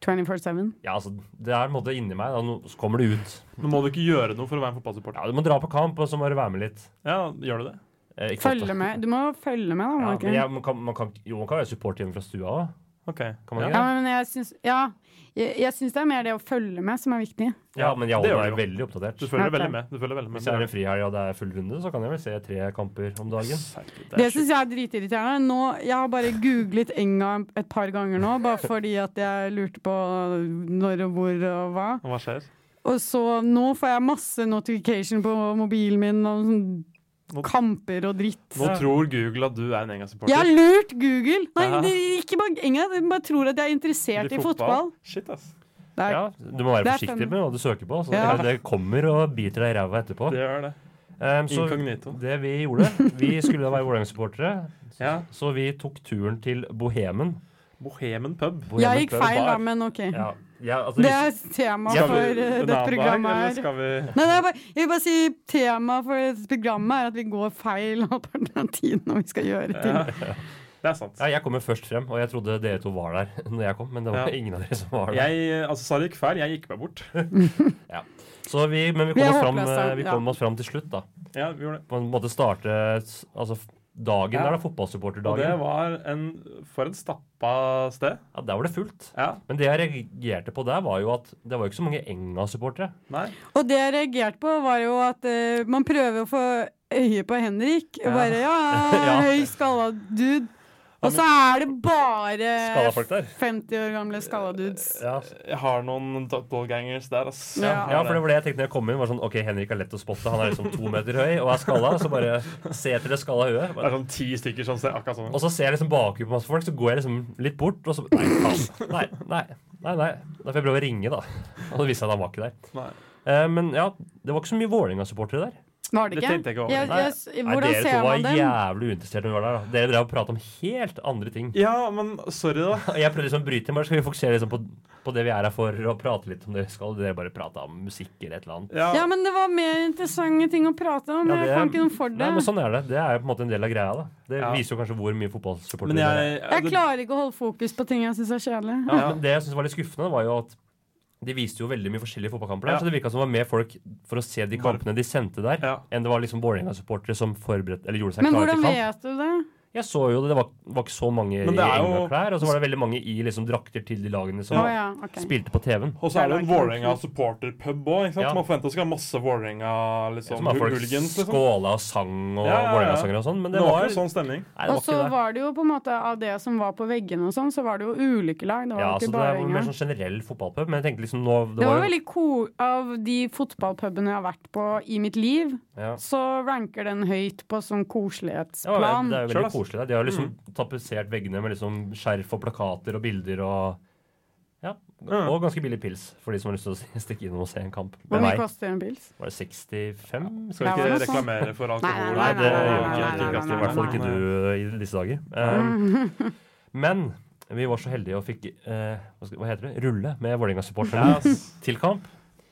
[SPEAKER 3] 24-7.
[SPEAKER 2] Ja, altså, det er en måte inni meg. Da. Nå- Så kommer det ut.
[SPEAKER 4] Nå må du ikke gjøre noe for å være en
[SPEAKER 2] Ja,
[SPEAKER 4] fotballsupporter.
[SPEAKER 2] Du må dra på kamp, og så må du være med litt.
[SPEAKER 4] Ja, gjør du det?
[SPEAKER 2] Eh, ikke ofte.
[SPEAKER 3] Følge med. Du må følge med, da.
[SPEAKER 2] Ja,
[SPEAKER 3] må du
[SPEAKER 2] men
[SPEAKER 3] ikke?
[SPEAKER 2] jeg, man kan, man kan, jo, man kan være supporter hjemme fra stua òg.
[SPEAKER 4] OK.
[SPEAKER 2] Kan man
[SPEAKER 4] ja.
[SPEAKER 2] ikke
[SPEAKER 3] Ja, men jeg syns ja, jeg, jeg syns det er mer det å følge med som er viktig.
[SPEAKER 2] Ja, men jeg holder
[SPEAKER 4] det gjør
[SPEAKER 2] meg
[SPEAKER 4] du jo.
[SPEAKER 2] veldig oppdatert.
[SPEAKER 4] Du følger
[SPEAKER 3] Ok.
[SPEAKER 4] veldig med. Du følger veldig med.
[SPEAKER 2] Hvis det er en frihelg og det er full runde, så kan jeg vel se tre kamper om dagen.
[SPEAKER 4] Herregud,
[SPEAKER 3] Det
[SPEAKER 4] sjukt.
[SPEAKER 3] syns jeg er dritirriterende. Nå, jeg har bare googlet Enga et par ganger nå, bare fordi at jeg lurte på øh, når og hvor og hva.
[SPEAKER 4] Hva skjer?
[SPEAKER 3] Og så nå får jeg masse notification på mobilen min om
[SPEAKER 4] Nå-
[SPEAKER 3] sånn kamper og dritt.
[SPEAKER 4] Nå tror Google at du er en Enga-supporter.
[SPEAKER 3] Jeg har lurt Google! Nei,
[SPEAKER 4] Ja.
[SPEAKER 3] det, ikke bare Enga, de bare tror at jeg er
[SPEAKER 4] I
[SPEAKER 3] interessert i fotball.
[SPEAKER 4] Shit, ass.
[SPEAKER 3] Det er,
[SPEAKER 2] Ja, du må være
[SPEAKER 3] Det er
[SPEAKER 2] forsiktig
[SPEAKER 3] fun.
[SPEAKER 2] med hva du søker på. Så
[SPEAKER 3] Ja.
[SPEAKER 2] det, det kommer og biter deg i ræva etterpå.
[SPEAKER 4] Det gjør det.
[SPEAKER 2] Ehm, så
[SPEAKER 4] Inkognito.
[SPEAKER 2] det vi gjorde Vi skulle da være Vålerenga-supportere,
[SPEAKER 4] Ja.
[SPEAKER 2] så vi tok turen til Bohemen.
[SPEAKER 4] Bohemen pub.
[SPEAKER 2] Bohemen
[SPEAKER 3] jeg gikk
[SPEAKER 2] Club
[SPEAKER 3] feil, da,
[SPEAKER 2] Bar.
[SPEAKER 3] men OK.
[SPEAKER 2] Ja, ja, altså,
[SPEAKER 3] Det er tema
[SPEAKER 2] Ja,
[SPEAKER 4] Skal
[SPEAKER 3] for
[SPEAKER 4] vi
[SPEAKER 3] eh,
[SPEAKER 4] en
[SPEAKER 3] dette
[SPEAKER 4] annen dag, eller
[SPEAKER 3] programmet her.
[SPEAKER 4] Skal vi
[SPEAKER 3] Nei, nei, jeg bare- jeg vil bare si Temaet for dette programmet er at vi går feil alternativ når vi skal gjøre ting.
[SPEAKER 4] Det er sant.
[SPEAKER 2] ja, jeg kommer først frem, og jeg trodde dere to var der når jeg kom, men det var
[SPEAKER 4] Ja.
[SPEAKER 2] ingen av dere som var der.
[SPEAKER 4] Jeg, altså, Sara gikk feil. Jeg gikk meg bort.
[SPEAKER 2] Så vi, men vi
[SPEAKER 3] Vi
[SPEAKER 2] kom,
[SPEAKER 3] er
[SPEAKER 2] oss fram,
[SPEAKER 3] håpløse,
[SPEAKER 2] eh, vi
[SPEAKER 3] ja.
[SPEAKER 2] kom oss fram til slutt, da.
[SPEAKER 4] Ja, vi gjorde det.
[SPEAKER 2] På en måte starte s- altså, f- dagen
[SPEAKER 4] Ja.
[SPEAKER 2] der, da.
[SPEAKER 4] Og det
[SPEAKER 2] Fotballsupporterdagen.
[SPEAKER 4] var en For et stappa sted.
[SPEAKER 2] Ja, der var det fullt.
[SPEAKER 4] Ja.
[SPEAKER 2] Men det jeg reagerte på der, var jo at det var jo ikke så mange Enga-supportere.
[SPEAKER 4] Nei.
[SPEAKER 3] Og det jeg reagerte på, var jo at eh, man prøver å få øye på Henrik. Og
[SPEAKER 2] Ja.
[SPEAKER 3] bare ja,
[SPEAKER 2] Ja.
[SPEAKER 3] høy skalla dude. Og så er det bare
[SPEAKER 2] Skalla folk der. Eh,
[SPEAKER 3] 50 år gamle skalla dudes.
[SPEAKER 2] Ja,
[SPEAKER 4] Jeg har noen doppelgangers der, ass.
[SPEAKER 3] Ja.
[SPEAKER 4] Jeg har
[SPEAKER 2] ja, for det var det jeg tenkte når jeg kom inn. var sånn, ok, Henrik er lett å spotte. Han er liksom to meter høy og er skalla. Så bare se etter det skalla huet.
[SPEAKER 4] Det er
[SPEAKER 2] Bare-
[SPEAKER 4] sånn ti stykker som ser akkurat sånn
[SPEAKER 2] Og så ser jeg liksom bakhjulet på masse folk, så går jeg liksom litt bort, og så Nei, faen. Nei, nei. nei, nei. Da får jeg prøve å ringe, da. Og det viste seg at han var ikke der.
[SPEAKER 4] Nei,
[SPEAKER 2] Eh, men ja, det var ikke så mye Vålerenga-supportere der.
[SPEAKER 3] Var det
[SPEAKER 4] det
[SPEAKER 3] ikke?
[SPEAKER 4] tenkte jeg ikke
[SPEAKER 3] Jeg-
[SPEAKER 4] over.
[SPEAKER 3] jeg-
[SPEAKER 2] Nei,
[SPEAKER 3] hvordan
[SPEAKER 2] dere
[SPEAKER 3] ser
[SPEAKER 2] to var
[SPEAKER 3] man dem?
[SPEAKER 2] jævlig uinteressert når vi var der. da. Dere drev og pratet om helt andre ting.
[SPEAKER 4] Ja, men sorry, da.
[SPEAKER 2] Og Jeg prøvde liksom å bryte inn, bare skal vi fokusere liksom på, på det vi er her for, og prate litt om det vi skal. Dere bare prate om musikk eller et eller annet.
[SPEAKER 4] Ja,
[SPEAKER 3] Ja, men det var mer interessante ting å prate om.
[SPEAKER 2] Ja,
[SPEAKER 3] Jeg
[SPEAKER 2] det-
[SPEAKER 3] kan ikke noe for det.
[SPEAKER 2] Nei, men sånn er det. Det er jo på en måte en del av greia. da. Det
[SPEAKER 4] Ja.
[SPEAKER 2] viser jo kanskje hvor mye fotballsupportere
[SPEAKER 4] men
[SPEAKER 2] det
[SPEAKER 4] jeg,
[SPEAKER 2] er.
[SPEAKER 3] Jeg klarer ikke å holde fokus på ting jeg syns er kjedelig.
[SPEAKER 2] Ja, men det jeg synes var litt skuffende, var jo at de viste jo veldig mye forskjellige fotballkamper. der,
[SPEAKER 4] Ja.
[SPEAKER 2] Så det virka som det var mer folk for å se de
[SPEAKER 4] Bare-
[SPEAKER 2] kampene de sendte der,
[SPEAKER 4] Ja.
[SPEAKER 2] enn det var liksom Vålerenga-supportere som forberedte eller gjorde seg
[SPEAKER 3] Men
[SPEAKER 2] klare
[SPEAKER 3] hvordan
[SPEAKER 2] til kamp.
[SPEAKER 3] vet du det?
[SPEAKER 2] Jeg så jo det, det var, var ikke så mange i
[SPEAKER 4] Men det er jo-
[SPEAKER 2] Enga-klær, og så var det veldig mange i liksom drakter til de lagene som
[SPEAKER 3] Å ja, ok.
[SPEAKER 2] spilte på TV-en.
[SPEAKER 4] Og så er det en Vålerenga-supporterpub òg. ikke sant?
[SPEAKER 2] Ja.
[SPEAKER 4] Man forventer at det skal være masse Vålerenga liksom,
[SPEAKER 2] Som har folk
[SPEAKER 4] hooligans. Liksom.
[SPEAKER 2] skåla og sang og
[SPEAKER 4] Ja, ja, ja.
[SPEAKER 2] Vålerenga-sanger og sånn, men
[SPEAKER 4] Det
[SPEAKER 2] det var,
[SPEAKER 4] ikke sånn stemning.
[SPEAKER 2] Nei, det
[SPEAKER 3] Og
[SPEAKER 2] var
[SPEAKER 3] så
[SPEAKER 2] ikke det.
[SPEAKER 3] var det jo på en måte av det som var på veggene og sånn, så var det jo ulike lag. Det var
[SPEAKER 2] Ja,
[SPEAKER 3] jo
[SPEAKER 2] så
[SPEAKER 3] ikke
[SPEAKER 2] det
[SPEAKER 3] bare
[SPEAKER 2] var
[SPEAKER 3] Enga.
[SPEAKER 2] mer sånn generell fotballpub, men jeg tenkte liksom nå
[SPEAKER 3] Det var
[SPEAKER 2] jo-
[SPEAKER 3] veldig cool Av de fotballpubene jeg har vært på i mitt liv,
[SPEAKER 2] ja.
[SPEAKER 3] så ranker den høyt på sånn
[SPEAKER 2] Ja,
[SPEAKER 3] koselighetsplan.
[SPEAKER 2] Det er jo
[SPEAKER 4] Sure,
[SPEAKER 2] veldig
[SPEAKER 4] ass.
[SPEAKER 2] koselig. der. De har liksom
[SPEAKER 3] Mm.
[SPEAKER 2] tapetsert veggene med liksom skjerf og plakater og bilder og ja,
[SPEAKER 4] Mm.
[SPEAKER 2] og ganske billig pils for de som har lyst til å s- stikke innom og se en kamp.
[SPEAKER 3] Hvor
[SPEAKER 2] Med
[SPEAKER 3] mye
[SPEAKER 2] meg
[SPEAKER 3] koster en pils?
[SPEAKER 2] var det 65?
[SPEAKER 4] Skal
[SPEAKER 3] Ja,
[SPEAKER 4] ikke
[SPEAKER 3] det var sånn.
[SPEAKER 4] reklamere for alkohol.
[SPEAKER 2] Nei,
[SPEAKER 3] Nei,
[SPEAKER 2] det
[SPEAKER 3] nei,
[SPEAKER 2] gjør
[SPEAKER 3] nei,
[SPEAKER 2] ikke
[SPEAKER 3] nei, nei,
[SPEAKER 2] Kringkaster,
[SPEAKER 3] nei,
[SPEAKER 2] i hvert fall
[SPEAKER 3] nei,
[SPEAKER 2] ikke du eh, i disse dager. Um, Men vi var så heldige og fikk eh, hva, skal, hva heter det? rulle med Vålerenga-supporterne
[SPEAKER 4] Yes.
[SPEAKER 2] til kamp.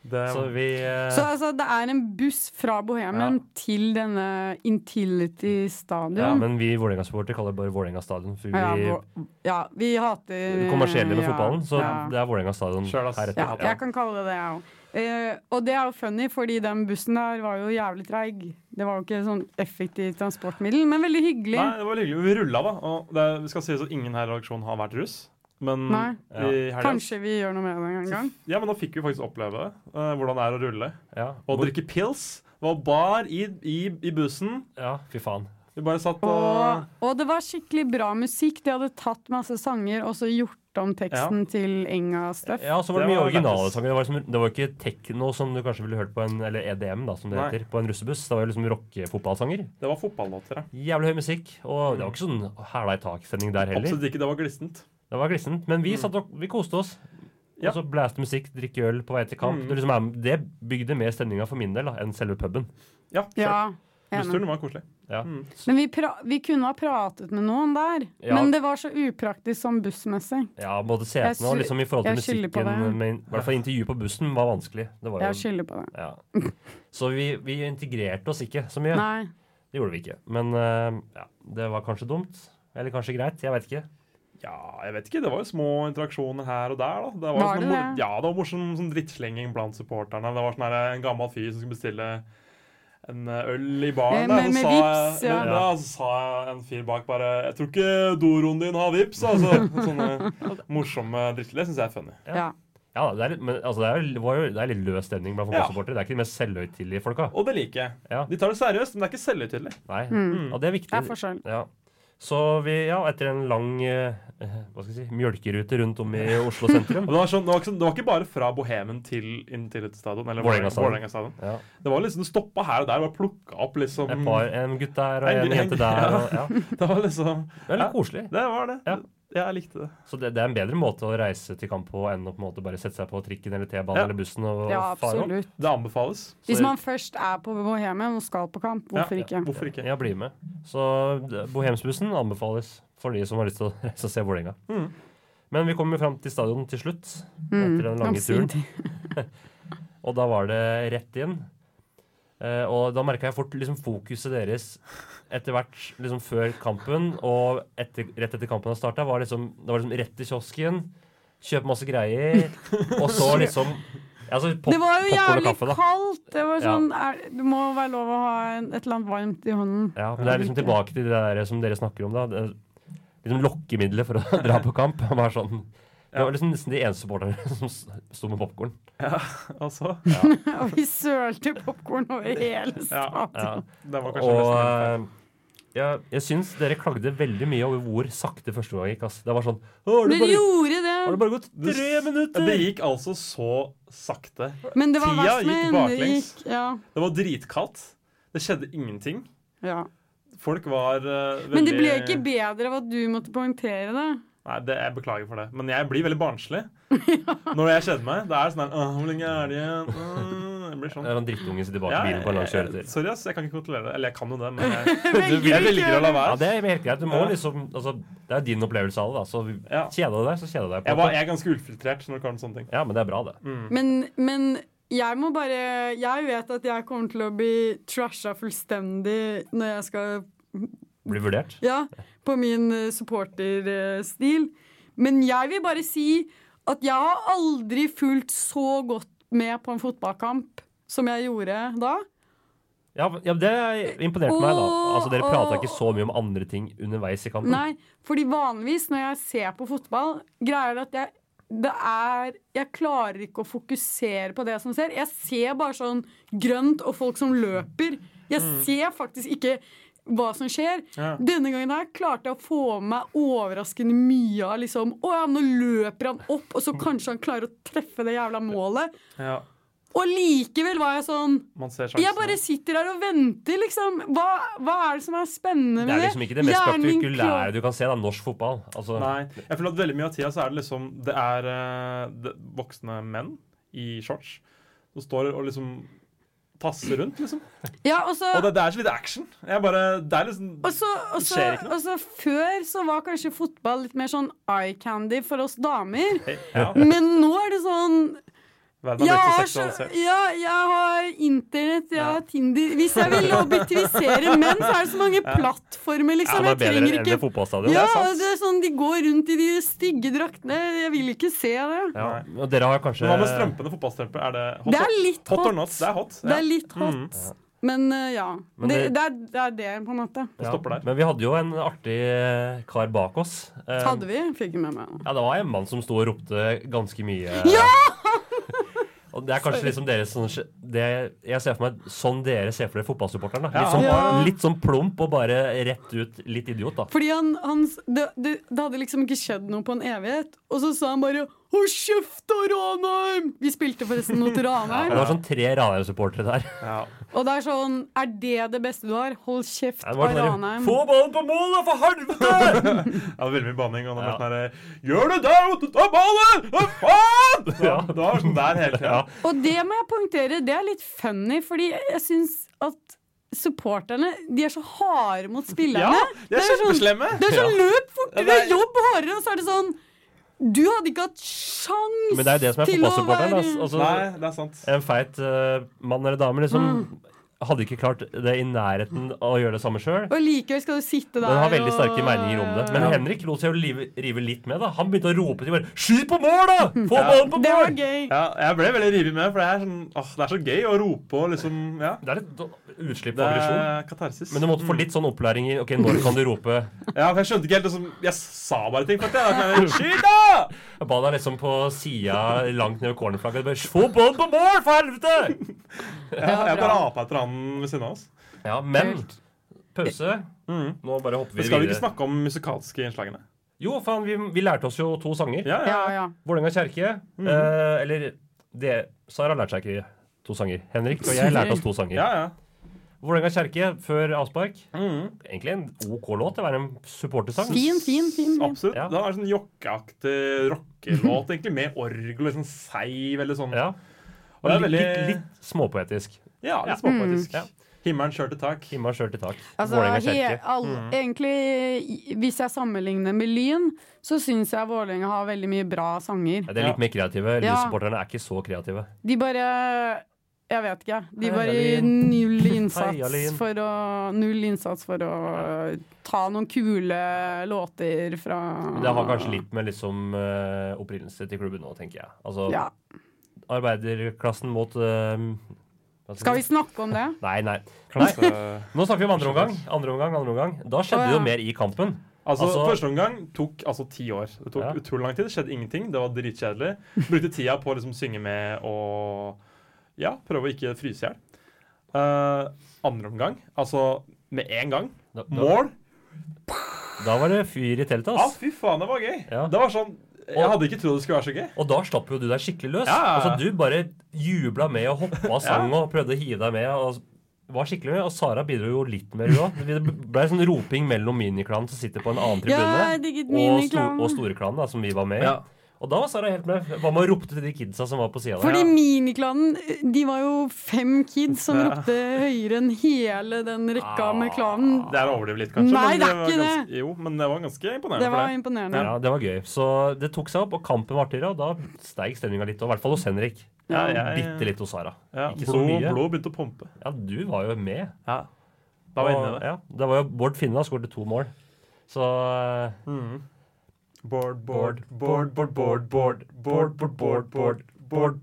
[SPEAKER 4] Det,
[SPEAKER 2] Så vi eh,
[SPEAKER 3] Så altså, det er en buss fra Bohemen
[SPEAKER 2] Ja.
[SPEAKER 3] til denne Intility Stadion.
[SPEAKER 2] ja, men vi Vålerenga-supportere kaller det bare Vålerenga stadion. For
[SPEAKER 3] Ja,
[SPEAKER 2] vi
[SPEAKER 3] hvor- ja, vi hater
[SPEAKER 2] er kommersielle med
[SPEAKER 3] ja,
[SPEAKER 2] fotballen, så
[SPEAKER 3] ja.
[SPEAKER 2] det er Vålerenga stadion
[SPEAKER 4] Sjøl, ass.
[SPEAKER 2] her
[SPEAKER 3] Ja,
[SPEAKER 2] etter.
[SPEAKER 3] jeg kan kalle det det, jeg òg. Eh, og det er jo funny, fordi den bussen der var jo jævlig treig. Det var jo ikke sånn effektivt transportmiddel, men veldig hyggelig.
[SPEAKER 4] nei, det var hyggelig. Vi rulla, da. Og det, vi skal si at ingen her i redaksjonen har vært russ. Men
[SPEAKER 3] Nei.
[SPEAKER 4] i helga
[SPEAKER 3] Kanskje vi gjør noe med det en gang.
[SPEAKER 4] Ja, men da fikk vi faktisk oppleve eh, hvordan det er å rulle.
[SPEAKER 2] Ja.
[SPEAKER 4] Og
[SPEAKER 2] Hvor-
[SPEAKER 4] drikke pils. Det var bar i, i, i bussen.
[SPEAKER 2] ja, fy faen.
[SPEAKER 4] Vi bare satt og
[SPEAKER 3] Og, og det var skikkelig bra musikk. De hadde tatt masse sanger og så gjort om teksten til Enga-stuff.
[SPEAKER 2] Ja, så var det,
[SPEAKER 4] Det
[SPEAKER 2] mye
[SPEAKER 4] var
[SPEAKER 2] originale
[SPEAKER 4] lættis.
[SPEAKER 2] sanger. Det var, liksom, det var ikke tekno som du kanskje ville hørt på en Eller EDM, da, som det
[SPEAKER 4] Nei.
[SPEAKER 2] heter. På en russebuss. Det var liksom rockefotballsanger.
[SPEAKER 4] Det var fotballåter, ja.
[SPEAKER 2] Jævlig høy musikk. Og det var ikke sånn hæla i tak-sending der heller.
[SPEAKER 4] Absolutt ikke. Det var glissent.
[SPEAKER 2] Det var glissent. Men
[SPEAKER 3] Mm.
[SPEAKER 2] vi, satt og, vi koste oss.
[SPEAKER 4] Ja.
[SPEAKER 2] Og så blæste musikk, drikke øl på vei til kamp.
[SPEAKER 4] Mm.
[SPEAKER 2] Det, liksom er, det bygde mer stemninga for min del da, enn selve puben.
[SPEAKER 4] Ja,
[SPEAKER 3] Ja,
[SPEAKER 4] ja.
[SPEAKER 3] enig.
[SPEAKER 4] Bussturen var koselig.
[SPEAKER 2] Ja.
[SPEAKER 4] Mm.
[SPEAKER 3] Men vi, pra vi kunne ha pratet med noen der.
[SPEAKER 2] Ja.
[SPEAKER 3] Men det var så upraktisk sånn bussmessig.
[SPEAKER 2] ja, Både setene og
[SPEAKER 3] sky-
[SPEAKER 2] liksom i forhold til
[SPEAKER 3] jeg skylder på
[SPEAKER 2] musikken.
[SPEAKER 3] det.
[SPEAKER 2] Men, I hvert fall intervjuet på bussen var vanskelig. Det var
[SPEAKER 3] Jeg
[SPEAKER 2] jo,
[SPEAKER 3] skylder på det.
[SPEAKER 2] ja. Så vi, vi integrerte oss ikke så mye.
[SPEAKER 3] Nei.
[SPEAKER 2] Det gjorde vi ikke. Men eh, ja, det var kanskje dumt. Eller kanskje greit. Jeg vet ikke.
[SPEAKER 4] Ja, jeg vet ikke. Det var jo små interaksjoner her og der, da. Det var,
[SPEAKER 3] Var
[SPEAKER 4] jo
[SPEAKER 3] det
[SPEAKER 4] sånn mor-
[SPEAKER 3] det?
[SPEAKER 4] Ja, det var morsom sånn drittslenging blant supporterne. Det var sånn her, en gammel fyr som skulle bestille en eh, øl i
[SPEAKER 3] Eh, med-
[SPEAKER 4] baren. der, og så
[SPEAKER 3] med
[SPEAKER 4] sa jeg-
[SPEAKER 3] vips, ja.
[SPEAKER 4] med- ja, så sa jeg en fyr bak bare 'Jeg tror ikke doroen din har vips', altså. Sånne morsomme drittslenging. Det syns jeg er funny.
[SPEAKER 2] Ja.
[SPEAKER 3] Ja.
[SPEAKER 2] Ja, det er, litt- men altså, det er, jo- det var jo, det er litt løs stemning blant fotballsupportere. Det er ikke de mest selvhøytidelige folka.
[SPEAKER 4] Og det liker jeg.
[SPEAKER 2] Ja.
[SPEAKER 4] De tar det seriøst, men det er ikke selvhøytidelig.
[SPEAKER 2] Nei.
[SPEAKER 3] Mm.
[SPEAKER 2] Og det er viktig.
[SPEAKER 3] Det er forskjell.
[SPEAKER 2] Ja. Så vi, ja, etter en lang eh, eh, hva skal jeg si, mjølkerute rundt om i Oslo sentrum
[SPEAKER 4] Og Det var, sånn, det, var ikke, sånn- det var ikke bare fra Bohemen til Intility Stadion, eller
[SPEAKER 2] Vålerenga stadion.
[SPEAKER 4] Vålerenga stadion.
[SPEAKER 2] ja.
[SPEAKER 4] Det var liksom, det stoppa her og der, bare plukka opp liksom
[SPEAKER 2] Et par, En gutt der og
[SPEAKER 4] En
[SPEAKER 2] en
[SPEAKER 4] gutt-
[SPEAKER 2] jente der. Og, ja.
[SPEAKER 4] Det var liksom
[SPEAKER 2] Det er litt koselig.
[SPEAKER 4] Det var det.
[SPEAKER 2] Ja.
[SPEAKER 4] Jeg likte det.
[SPEAKER 2] Så det, det er en bedre måte å reise til kamp på enn å på en måte bare sette seg på trikken eller T-banen
[SPEAKER 4] Ja.
[SPEAKER 2] eller bussen og
[SPEAKER 3] Ja,
[SPEAKER 2] og fare opp.
[SPEAKER 3] absolutt.
[SPEAKER 4] Det anbefales.
[SPEAKER 3] Hvis man først er på Bohemia og skal på kamp, hvorfor
[SPEAKER 4] Ja,
[SPEAKER 3] ikke?
[SPEAKER 4] Hvorfor ikke?
[SPEAKER 2] Ja, bli med. Så det- Bohemsbussen anbefales for de som har lyst til å reise og se Vålerenga.
[SPEAKER 4] Mm.
[SPEAKER 2] Men vi kom jo fram til stadion til slutt,
[SPEAKER 3] Mm,
[SPEAKER 2] etter den
[SPEAKER 3] om
[SPEAKER 2] lange turen.
[SPEAKER 3] sin tid.
[SPEAKER 2] Og da var det rett inn. Eh, og da merka jeg fort liksom, fokuset deres etter hvert, liksom før kampen og etter, rett etter kampen har starta, var liksom, det var liksom rett til kiosken, kjøpe masse greier, og så liksom ja, altså, pop,
[SPEAKER 3] Det var
[SPEAKER 2] popcorn
[SPEAKER 3] jo
[SPEAKER 2] og
[SPEAKER 3] jævlig
[SPEAKER 2] kaffe, da.
[SPEAKER 3] kaldt! Det var
[SPEAKER 2] Ja.
[SPEAKER 3] sånn, er, det må være lov å ha en, et eller annet varmt i hånden.
[SPEAKER 2] Ja, men det er liksom tilbake til det der som dere snakker om, da. Det, er liksom lokkemiddelet for å dra på kamp. Bare sånn Det var liksom nesten de eneste supporterne som s- sto med popkorn.
[SPEAKER 4] Altså,
[SPEAKER 3] Og vi sølte popkorn over hele
[SPEAKER 2] Ja.
[SPEAKER 3] staten.
[SPEAKER 4] det var kanskje
[SPEAKER 2] Og
[SPEAKER 4] nesten helt feil.
[SPEAKER 2] eh, jeg, jeg syns dere klagde veldig mye over hvor sakte første gang gikk. ass. Det var sånn «Å, har det
[SPEAKER 3] Dere
[SPEAKER 2] bare,
[SPEAKER 3] gjorde
[SPEAKER 2] har det
[SPEAKER 3] det,
[SPEAKER 2] bare gått tre minutter?!
[SPEAKER 4] Det gikk altså så sakte.
[SPEAKER 3] men det var
[SPEAKER 4] Tida
[SPEAKER 3] verst
[SPEAKER 4] gikk
[SPEAKER 3] med henne.
[SPEAKER 4] baklengs.
[SPEAKER 3] Gikk, ja,
[SPEAKER 4] Det var dritkaldt. Det skjedde ingenting.
[SPEAKER 3] ja.
[SPEAKER 4] Folk var eh, veldig
[SPEAKER 3] Men det ble ikke bedre av at du måtte poengtere det.
[SPEAKER 4] Nei, det, jeg beklager for det. Men jeg blir veldig barnslig når jeg kjeder meg. Det er sånn her «Åh, Hvor lenge er det igjen? Åh, Jeg blir sånn.
[SPEAKER 2] Det er en drittungen sitter bak i
[SPEAKER 4] Ja,
[SPEAKER 2] bilen på en lang
[SPEAKER 4] jeg-
[SPEAKER 2] kjøretur.
[SPEAKER 4] Sorry, ass. Jeg kan ikke kontrollere det. Eller jeg kan jo det, men jeg,
[SPEAKER 3] Velger ikke
[SPEAKER 4] jeg velger å la
[SPEAKER 2] Ja,
[SPEAKER 4] være.
[SPEAKER 2] Det er helt greit. Du må
[SPEAKER 4] Ja.
[SPEAKER 2] liksom, altså, det er din opplevelse av det. da, Så
[SPEAKER 4] Ja.
[SPEAKER 2] kjeder du deg, så kjeder du deg. på
[SPEAKER 4] Jeg,
[SPEAKER 2] en
[SPEAKER 4] var,
[SPEAKER 2] måte.
[SPEAKER 4] Mm. jeg er ganske ufiltrert når det kommer til sånne ting.
[SPEAKER 2] Ja, Men det er bra, det.
[SPEAKER 3] Men, men jeg må bare Jeg vet at jeg kommer til å bli trasha fullstendig når jeg skal
[SPEAKER 2] Blir vurdert.
[SPEAKER 3] Ja, på min eh, supporterstil. Men jeg vil bare si at jeg har aldri fulgt så godt med på en fotballkamp som jeg gjorde da.
[SPEAKER 2] Ja, ja Det imponerte meg, da. Altså, Dere
[SPEAKER 3] Åh,
[SPEAKER 2] prata
[SPEAKER 3] åh.
[SPEAKER 2] ikke så mye om andre ting underveis i kampen.
[SPEAKER 3] Nei, fordi vanligvis når jeg ser på fotball, greier det at jeg det er, Jeg klarer ikke å fokusere på det som ser. Jeg ser bare sånn grønt og folk som løper. Jeg
[SPEAKER 2] Mm.
[SPEAKER 3] ser faktisk ikke hva som skjer.
[SPEAKER 4] Ja.
[SPEAKER 3] Denne gangen her klarte jeg å få med meg overraskende mye av liksom Å ja, nå løper han opp, og så kanskje han klarer å treffe det jævla målet.
[SPEAKER 4] Ja,
[SPEAKER 3] Og likevel var jeg sånn
[SPEAKER 4] man ser
[SPEAKER 3] Jeg bare
[SPEAKER 4] sjansene.
[SPEAKER 3] sitter her og venter, liksom. Hva, hva er det som er spennende
[SPEAKER 2] Det
[SPEAKER 3] med
[SPEAKER 2] er
[SPEAKER 3] det?
[SPEAKER 2] liksom ikke det mest
[SPEAKER 3] Hjernen min
[SPEAKER 2] spektakulære du kan se. da, Norsk fotball. Altså,
[SPEAKER 4] Nei. Jeg føler at veldig mye av tida så er det liksom Det er eh, det, voksne menn i shorts som står og liksom tasser rundt, liksom.
[SPEAKER 3] Ja, og så
[SPEAKER 4] Og det, det er så lite action. Jeg bare Det er liksom
[SPEAKER 3] Og så, og, så,
[SPEAKER 4] skjer ikke noe.
[SPEAKER 3] og så før så var kanskje fotball litt mer sånn eye candy for oss damer.
[SPEAKER 4] Ja.
[SPEAKER 3] Men nå er det sånn
[SPEAKER 4] Verden
[SPEAKER 3] Jeg
[SPEAKER 4] er blitt så
[SPEAKER 3] har, så,
[SPEAKER 4] seksualisert.
[SPEAKER 3] ja, jeg har internett, jeg har Tinder Hvis jeg vil objektivisere menn, så er det så mange plattformer,
[SPEAKER 2] Ja,
[SPEAKER 3] liksom.
[SPEAKER 2] det
[SPEAKER 3] Jeg
[SPEAKER 2] er bedre
[SPEAKER 3] trenger
[SPEAKER 2] enn ved
[SPEAKER 3] ikke
[SPEAKER 2] fotballstadion.
[SPEAKER 3] ja,
[SPEAKER 2] det er sant.
[SPEAKER 3] og det er sånn, De går rundt i de stygge draktene. Jeg vil ikke se det.
[SPEAKER 2] Ja, og dere har kanskje
[SPEAKER 4] Men hva med strømpene? Fotballstrømper? Er det hot?
[SPEAKER 3] Det er litt
[SPEAKER 4] hot or
[SPEAKER 3] hot.
[SPEAKER 4] not? Det er hot.
[SPEAKER 3] Det er
[SPEAKER 4] Ja.
[SPEAKER 3] litt hot. Men eh, ja.
[SPEAKER 2] Men
[SPEAKER 3] Det,
[SPEAKER 2] det-
[SPEAKER 3] det, er, det er det, på en måte.
[SPEAKER 4] Det stopper der.
[SPEAKER 2] Men vi hadde jo en artig eh, kar bak oss. Eh,
[SPEAKER 3] Hadde vi? Fikk ikke med meg.
[SPEAKER 2] Ja, det var en mann som sto og ropte ganske mye. Og det er kanskje liksom dere som det, Jeg ser for meg sånn dere ser for dere fotballsupporteren. da. Litt sånn,
[SPEAKER 3] Ja.
[SPEAKER 2] litt sånn plump og bare rett ut litt idiot, da.
[SPEAKER 3] Fordi han, han det, det, det hadde liksom ikke skjedd noe på en evighet. Og så sa han bare 'Hold kjeft, da, Ranheim!' Vi spilte forresten mot
[SPEAKER 2] Det
[SPEAKER 3] Ranheim.
[SPEAKER 2] var sånn tre Ranheim-supportere der.
[SPEAKER 4] Ja.
[SPEAKER 3] Og det er sånn Er det det beste du har? Hold kjeft
[SPEAKER 2] Det
[SPEAKER 3] av
[SPEAKER 2] var sånn der,
[SPEAKER 3] Ranheim.
[SPEAKER 2] Få ballen på mål, da, for helvete!
[SPEAKER 4] Ja, det var veldig mye banning. Og det
[SPEAKER 2] Ja.
[SPEAKER 4] var sånn her, Gjør det der, og ta ballen! Hva faen! Ja,
[SPEAKER 2] Ja.
[SPEAKER 4] det var sånn der hele tida.
[SPEAKER 3] Og det må jeg poengtere, det er litt funny, fordi jeg syns at supporterne De er så harde mot
[SPEAKER 4] Ja,
[SPEAKER 3] spillerne.
[SPEAKER 4] de er
[SPEAKER 3] sånn-
[SPEAKER 4] kjempeslemme.
[SPEAKER 3] Det er sånn løp
[SPEAKER 4] Ja,
[SPEAKER 3] fortere,
[SPEAKER 4] det er-
[SPEAKER 3] jobb hardere, og så er det sånn Du hadde ikke hatt sjans
[SPEAKER 2] Men det er jo det som er
[SPEAKER 3] til å
[SPEAKER 2] fotballsupporteren.
[SPEAKER 3] være-
[SPEAKER 2] Altså,
[SPEAKER 4] Nei, det er sant.
[SPEAKER 2] en feit eh, mann eller dame liksom
[SPEAKER 3] Mm.
[SPEAKER 2] hadde ikke klart det i nærheten av å gjøre det samme sjøl.
[SPEAKER 3] Og likevel skal du sitte der
[SPEAKER 2] Den har veldig sterke
[SPEAKER 3] og-
[SPEAKER 2] meninger om det. Men Henrik lot seg jo live, rive litt med. da Han begynte å rope til bare Skyt på mål, da! Få ballen på
[SPEAKER 3] Det var
[SPEAKER 2] mål!
[SPEAKER 3] gøy.
[SPEAKER 4] Ja, jeg ble veldig revet med, for det er, sånn, åh, det er så gøy å rope og liksom Ja.
[SPEAKER 2] Det er litt do- utslipp
[SPEAKER 4] Det
[SPEAKER 2] av aggresjon.
[SPEAKER 4] er katarsis.
[SPEAKER 2] Men du måtte få litt sånn opplæring i Ok, når kan du rope?
[SPEAKER 4] Ja, for Jeg skjønte ikke helt liksom, Jeg sa bare ting. for at jeg var sånn, Skyt, da!
[SPEAKER 2] Jeg ba deg liksom på sida langt ned ved cornerflagget. Bare, Få ballen på mål, for helvete!
[SPEAKER 4] Ja, jeg bare apa etter han ved siden av oss.
[SPEAKER 2] Ja, men pause. Nå bare hopper vi
[SPEAKER 4] Mm. Men skal vi ikke
[SPEAKER 2] videre.
[SPEAKER 4] snakke om musikalske innslagene?
[SPEAKER 2] Jo, faen, vi, vi lærte oss jo to sanger.
[SPEAKER 4] Ja, Mm. ja.
[SPEAKER 3] Ja, ja.
[SPEAKER 2] Vålerenga kjerke. Eh, eller det, Sara lærte seg ikke to sanger. Henrik og jeg lærte oss to sanger.
[SPEAKER 4] ja, ja.
[SPEAKER 2] Vålerenga kjerke før avspark.
[SPEAKER 3] Mm.
[SPEAKER 2] Egentlig en OK låt til å være en supportersang.
[SPEAKER 3] Fin, fin, fin. fin.
[SPEAKER 4] Absolutt.
[SPEAKER 2] Ja.
[SPEAKER 4] Det var en sånn jokkeaktig rockelåt, egentlig, med orgel og sånn seiv eller sånn.
[SPEAKER 2] Ja. Og
[SPEAKER 4] Det
[SPEAKER 2] litt,
[SPEAKER 4] er veldig-
[SPEAKER 2] litt, litt småpoetisk.
[SPEAKER 4] Ja, litt småpoetisk.
[SPEAKER 2] Ja.
[SPEAKER 4] Himmelen kjør til tak.
[SPEAKER 2] Kimma skjørt i tak.
[SPEAKER 3] Altså,
[SPEAKER 2] Vålerenga
[SPEAKER 3] he,
[SPEAKER 2] kjerke.
[SPEAKER 3] all, Egentlig, hvis jeg sammenligner med Lyn, så syns jeg Vålerenga har veldig mye bra sanger.
[SPEAKER 2] Ja, de er litt mer kreative.
[SPEAKER 3] Ja.
[SPEAKER 2] Lynsupporterne er ikke så kreative.
[SPEAKER 3] De bare Jeg vet ikke. De
[SPEAKER 2] Heia
[SPEAKER 3] bare
[SPEAKER 2] Lyn.
[SPEAKER 3] null
[SPEAKER 2] Heia Lyn.
[SPEAKER 3] innsats for å Null innsats for å ta noen kule låter fra
[SPEAKER 2] Det har
[SPEAKER 3] Ah.
[SPEAKER 2] kanskje litt med liksom eh, opprinnelse til klubben nå, tenker jeg. Altså
[SPEAKER 3] ja.
[SPEAKER 2] arbeiderklassen mot eh, hva
[SPEAKER 3] Skal vi snakke om det?
[SPEAKER 2] Nei, nei. nei.
[SPEAKER 4] Så-
[SPEAKER 2] Nå snakker vi om andre omgang. Andre omgang, andre omgang. Da skjedde
[SPEAKER 3] Å,
[SPEAKER 2] det
[SPEAKER 3] ja.
[SPEAKER 2] jo mer i kampen.
[SPEAKER 4] Altså,
[SPEAKER 2] Altså-
[SPEAKER 4] Første omgang tok altså ti år. Det tok
[SPEAKER 2] Ja.
[SPEAKER 4] utrolig lang tid. Det skjedde ingenting. Det var dritkjedelig. Brukte tida på å liksom synge med og ja, prøve å ikke fryse i hjel. Eh, andre omgang, altså med en gang,
[SPEAKER 2] Da, da,
[SPEAKER 4] mål.
[SPEAKER 2] da var det fyr i teltet,
[SPEAKER 4] Ja,
[SPEAKER 2] ass.
[SPEAKER 4] fy faen, det var gøy.
[SPEAKER 2] Ja.
[SPEAKER 4] Det var sånn Jeg
[SPEAKER 2] Og-
[SPEAKER 4] hadde ikke trodd det skulle være så gøy.
[SPEAKER 2] Og da slapp jo du deg skikkelig løs.
[SPEAKER 4] Ja.
[SPEAKER 2] Altså, du bare jubla med og hoppa og sang og prøvde å hive deg med. og var skikkelig med, Og Sara bidro jo litt mer, hun òg. Det ble sånn roping mellom miniklanen som sitter på en annen
[SPEAKER 3] Ja,
[SPEAKER 2] tribune,
[SPEAKER 3] jeg digget
[SPEAKER 2] og, sto
[SPEAKER 3] miniklanen.
[SPEAKER 2] og storeklanen, da, som vi var med i.
[SPEAKER 4] Ja.
[SPEAKER 2] Og da var Sara helt med. Hva med å rope til de kidsa som var på sida
[SPEAKER 3] Fordi
[SPEAKER 2] der?
[SPEAKER 3] miniklanen De var jo fem kids som ropte høyere enn hele den rekka
[SPEAKER 2] Ah,
[SPEAKER 3] med klanen.
[SPEAKER 4] Det er å overdrive litt, kanskje.
[SPEAKER 3] Nei,
[SPEAKER 4] men
[SPEAKER 3] det er
[SPEAKER 4] var
[SPEAKER 3] ikke
[SPEAKER 4] ganske, det. Jo, men det var ganske imponerende.
[SPEAKER 3] Det var
[SPEAKER 4] for det.
[SPEAKER 3] imponerende.
[SPEAKER 2] Ja, det var gøy. Så det tok seg opp, og kampen varte til, og da steig stemninga litt. Og i hvert fall hos Henrik.
[SPEAKER 4] Ja, jeg-
[SPEAKER 2] Bitte litt hos Sara.
[SPEAKER 4] ja,
[SPEAKER 2] Ikke så
[SPEAKER 4] blod,
[SPEAKER 2] mye.
[SPEAKER 4] blod begynte å pumpe.
[SPEAKER 2] Ja, du var jo med.
[SPEAKER 4] Ja. Da var jeg inne i
[SPEAKER 2] Og-
[SPEAKER 4] det.
[SPEAKER 2] Ja, det var jo Bård Finna skåret to mål. Så eh,
[SPEAKER 4] Board,
[SPEAKER 2] board,
[SPEAKER 4] board,
[SPEAKER 2] board,
[SPEAKER 4] board,
[SPEAKER 2] board, board,
[SPEAKER 4] board,
[SPEAKER 2] board,
[SPEAKER 4] board, board,
[SPEAKER 2] board,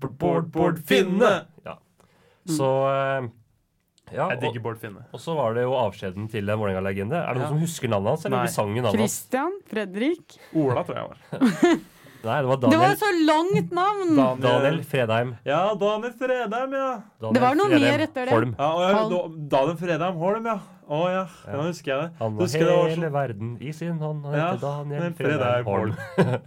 [SPEAKER 2] board, board, board, board, board, board,
[SPEAKER 4] board, board, board, board, board, board, board,
[SPEAKER 2] board, Finne!
[SPEAKER 4] Finne!
[SPEAKER 3] Mm.
[SPEAKER 2] så eh, Ja,
[SPEAKER 4] Jeg digger
[SPEAKER 2] og,
[SPEAKER 4] Bård Finne.
[SPEAKER 2] og så var det jo avskjeden til en Vålerenga-legende. Er det noen
[SPEAKER 4] Ja.
[SPEAKER 2] som husker navnet hans, eller
[SPEAKER 4] Nei.
[SPEAKER 2] vi sang jo navnet hans?
[SPEAKER 3] Christian? Fredrik?
[SPEAKER 4] Ola, tror jeg var.
[SPEAKER 2] Nei, det var
[SPEAKER 3] Det var
[SPEAKER 2] Daniel.
[SPEAKER 3] et så langt navn!
[SPEAKER 4] Daniel.
[SPEAKER 2] Daniel Fredheim.
[SPEAKER 4] Ja, Daniel Fredheim, ja.
[SPEAKER 2] Daniel
[SPEAKER 3] Det var noe mer
[SPEAKER 2] Fredheim
[SPEAKER 3] etter det.
[SPEAKER 2] Holm.
[SPEAKER 4] ja og jeg,
[SPEAKER 3] Han-
[SPEAKER 4] Daniel Fredheim Holm, ja. Å ja, nå husker jeg det.
[SPEAKER 2] Han
[SPEAKER 4] Du
[SPEAKER 2] var
[SPEAKER 4] husker det var
[SPEAKER 2] hele
[SPEAKER 4] sånn
[SPEAKER 2] verden i sin hånd. Han
[SPEAKER 4] Ja,
[SPEAKER 2] heter Daniel
[SPEAKER 4] men
[SPEAKER 2] Fredheim
[SPEAKER 4] Fredheim
[SPEAKER 2] Holm.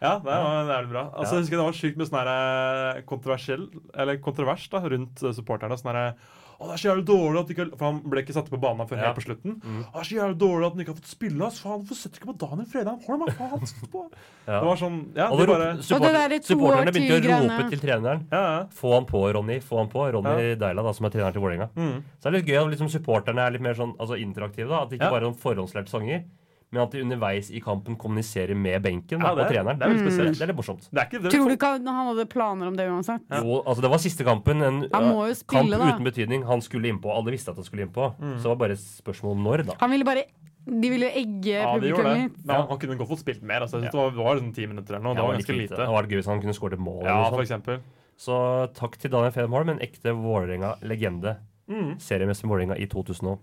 [SPEAKER 4] Ja, det var det er vel bra. Altså,
[SPEAKER 2] Ja.
[SPEAKER 4] Jeg husker det var sykt med sånn her, eh, kontroversiell, eller kontrovers da, rundt eh, supporterne. Sånn her, å, det er så jævlig dårlig at de ikke har, For han ble ikke satt på banen før
[SPEAKER 2] Ja.
[SPEAKER 4] helt på slutten. «Å, Det er så jævlig dårlig at han ikke har fått spille, ass. Faen, hvorfor setter du ikke på Daniel Fredheim Holm? da? Faen, han sitter på.
[SPEAKER 2] Ja.
[SPEAKER 4] Det var sånn Ja,
[SPEAKER 2] Og
[SPEAKER 4] de
[SPEAKER 2] det ropte-
[SPEAKER 4] bare
[SPEAKER 2] supporter-
[SPEAKER 3] der i to
[SPEAKER 2] supporterne
[SPEAKER 3] år
[SPEAKER 2] begynte å rope
[SPEAKER 3] til-greiene.
[SPEAKER 2] til treneren.
[SPEAKER 4] Ja, ja.
[SPEAKER 2] Få han på, Ronny. Få han på. Ronny Deila, da, som er treneren til Vålerenga.
[SPEAKER 4] Mm.
[SPEAKER 2] Så det er litt gøy at liksom, supporterne er litt mer sånn altså, interaktive. da, At det ikke
[SPEAKER 4] Ja.
[SPEAKER 2] bare er sånn forhåndslærte sanger, men at de underveis i kampen kommuniserer med benken da,
[SPEAKER 4] Ja, det
[SPEAKER 2] og
[SPEAKER 4] er-
[SPEAKER 2] treneren.
[SPEAKER 4] det er
[SPEAKER 3] Mm.
[SPEAKER 4] litt spesielt.
[SPEAKER 2] Det er litt morsomt.
[SPEAKER 4] Det er sånn- ikke det
[SPEAKER 3] Tror du ikke han han hadde planer om det uansett?
[SPEAKER 2] Jo, altså Det var siste kampen. En
[SPEAKER 3] Han må
[SPEAKER 2] ja,
[SPEAKER 3] jo spille,
[SPEAKER 2] kamp
[SPEAKER 3] da.
[SPEAKER 2] uten betydning. Han skulle innpå. Alle visste at han skulle innpå.
[SPEAKER 4] Mm.
[SPEAKER 2] Så det var bare et spørsmål om når, da.
[SPEAKER 3] Han ville bare De ville egge
[SPEAKER 4] Ja, de
[SPEAKER 3] publikum
[SPEAKER 4] gjorde det.
[SPEAKER 3] litt.
[SPEAKER 4] Men han, han kunne godt fått spilt mer. Altså. Jeg synes Det var, det var sånn ti minutter eller noe.
[SPEAKER 2] Ja,
[SPEAKER 4] Det var
[SPEAKER 2] litt
[SPEAKER 4] ganske
[SPEAKER 2] Det
[SPEAKER 4] lite.
[SPEAKER 2] hadde vært gøy hvis han kunne skåret et mål.
[SPEAKER 4] Ja,
[SPEAKER 2] eller
[SPEAKER 4] for
[SPEAKER 2] noe sånt.
[SPEAKER 4] eksempel.
[SPEAKER 2] Så takk til Daniel Fedem Holm, en ekte Vålerenga-legende.
[SPEAKER 4] Mm.
[SPEAKER 2] Seriemester med Vålerenga i 2005,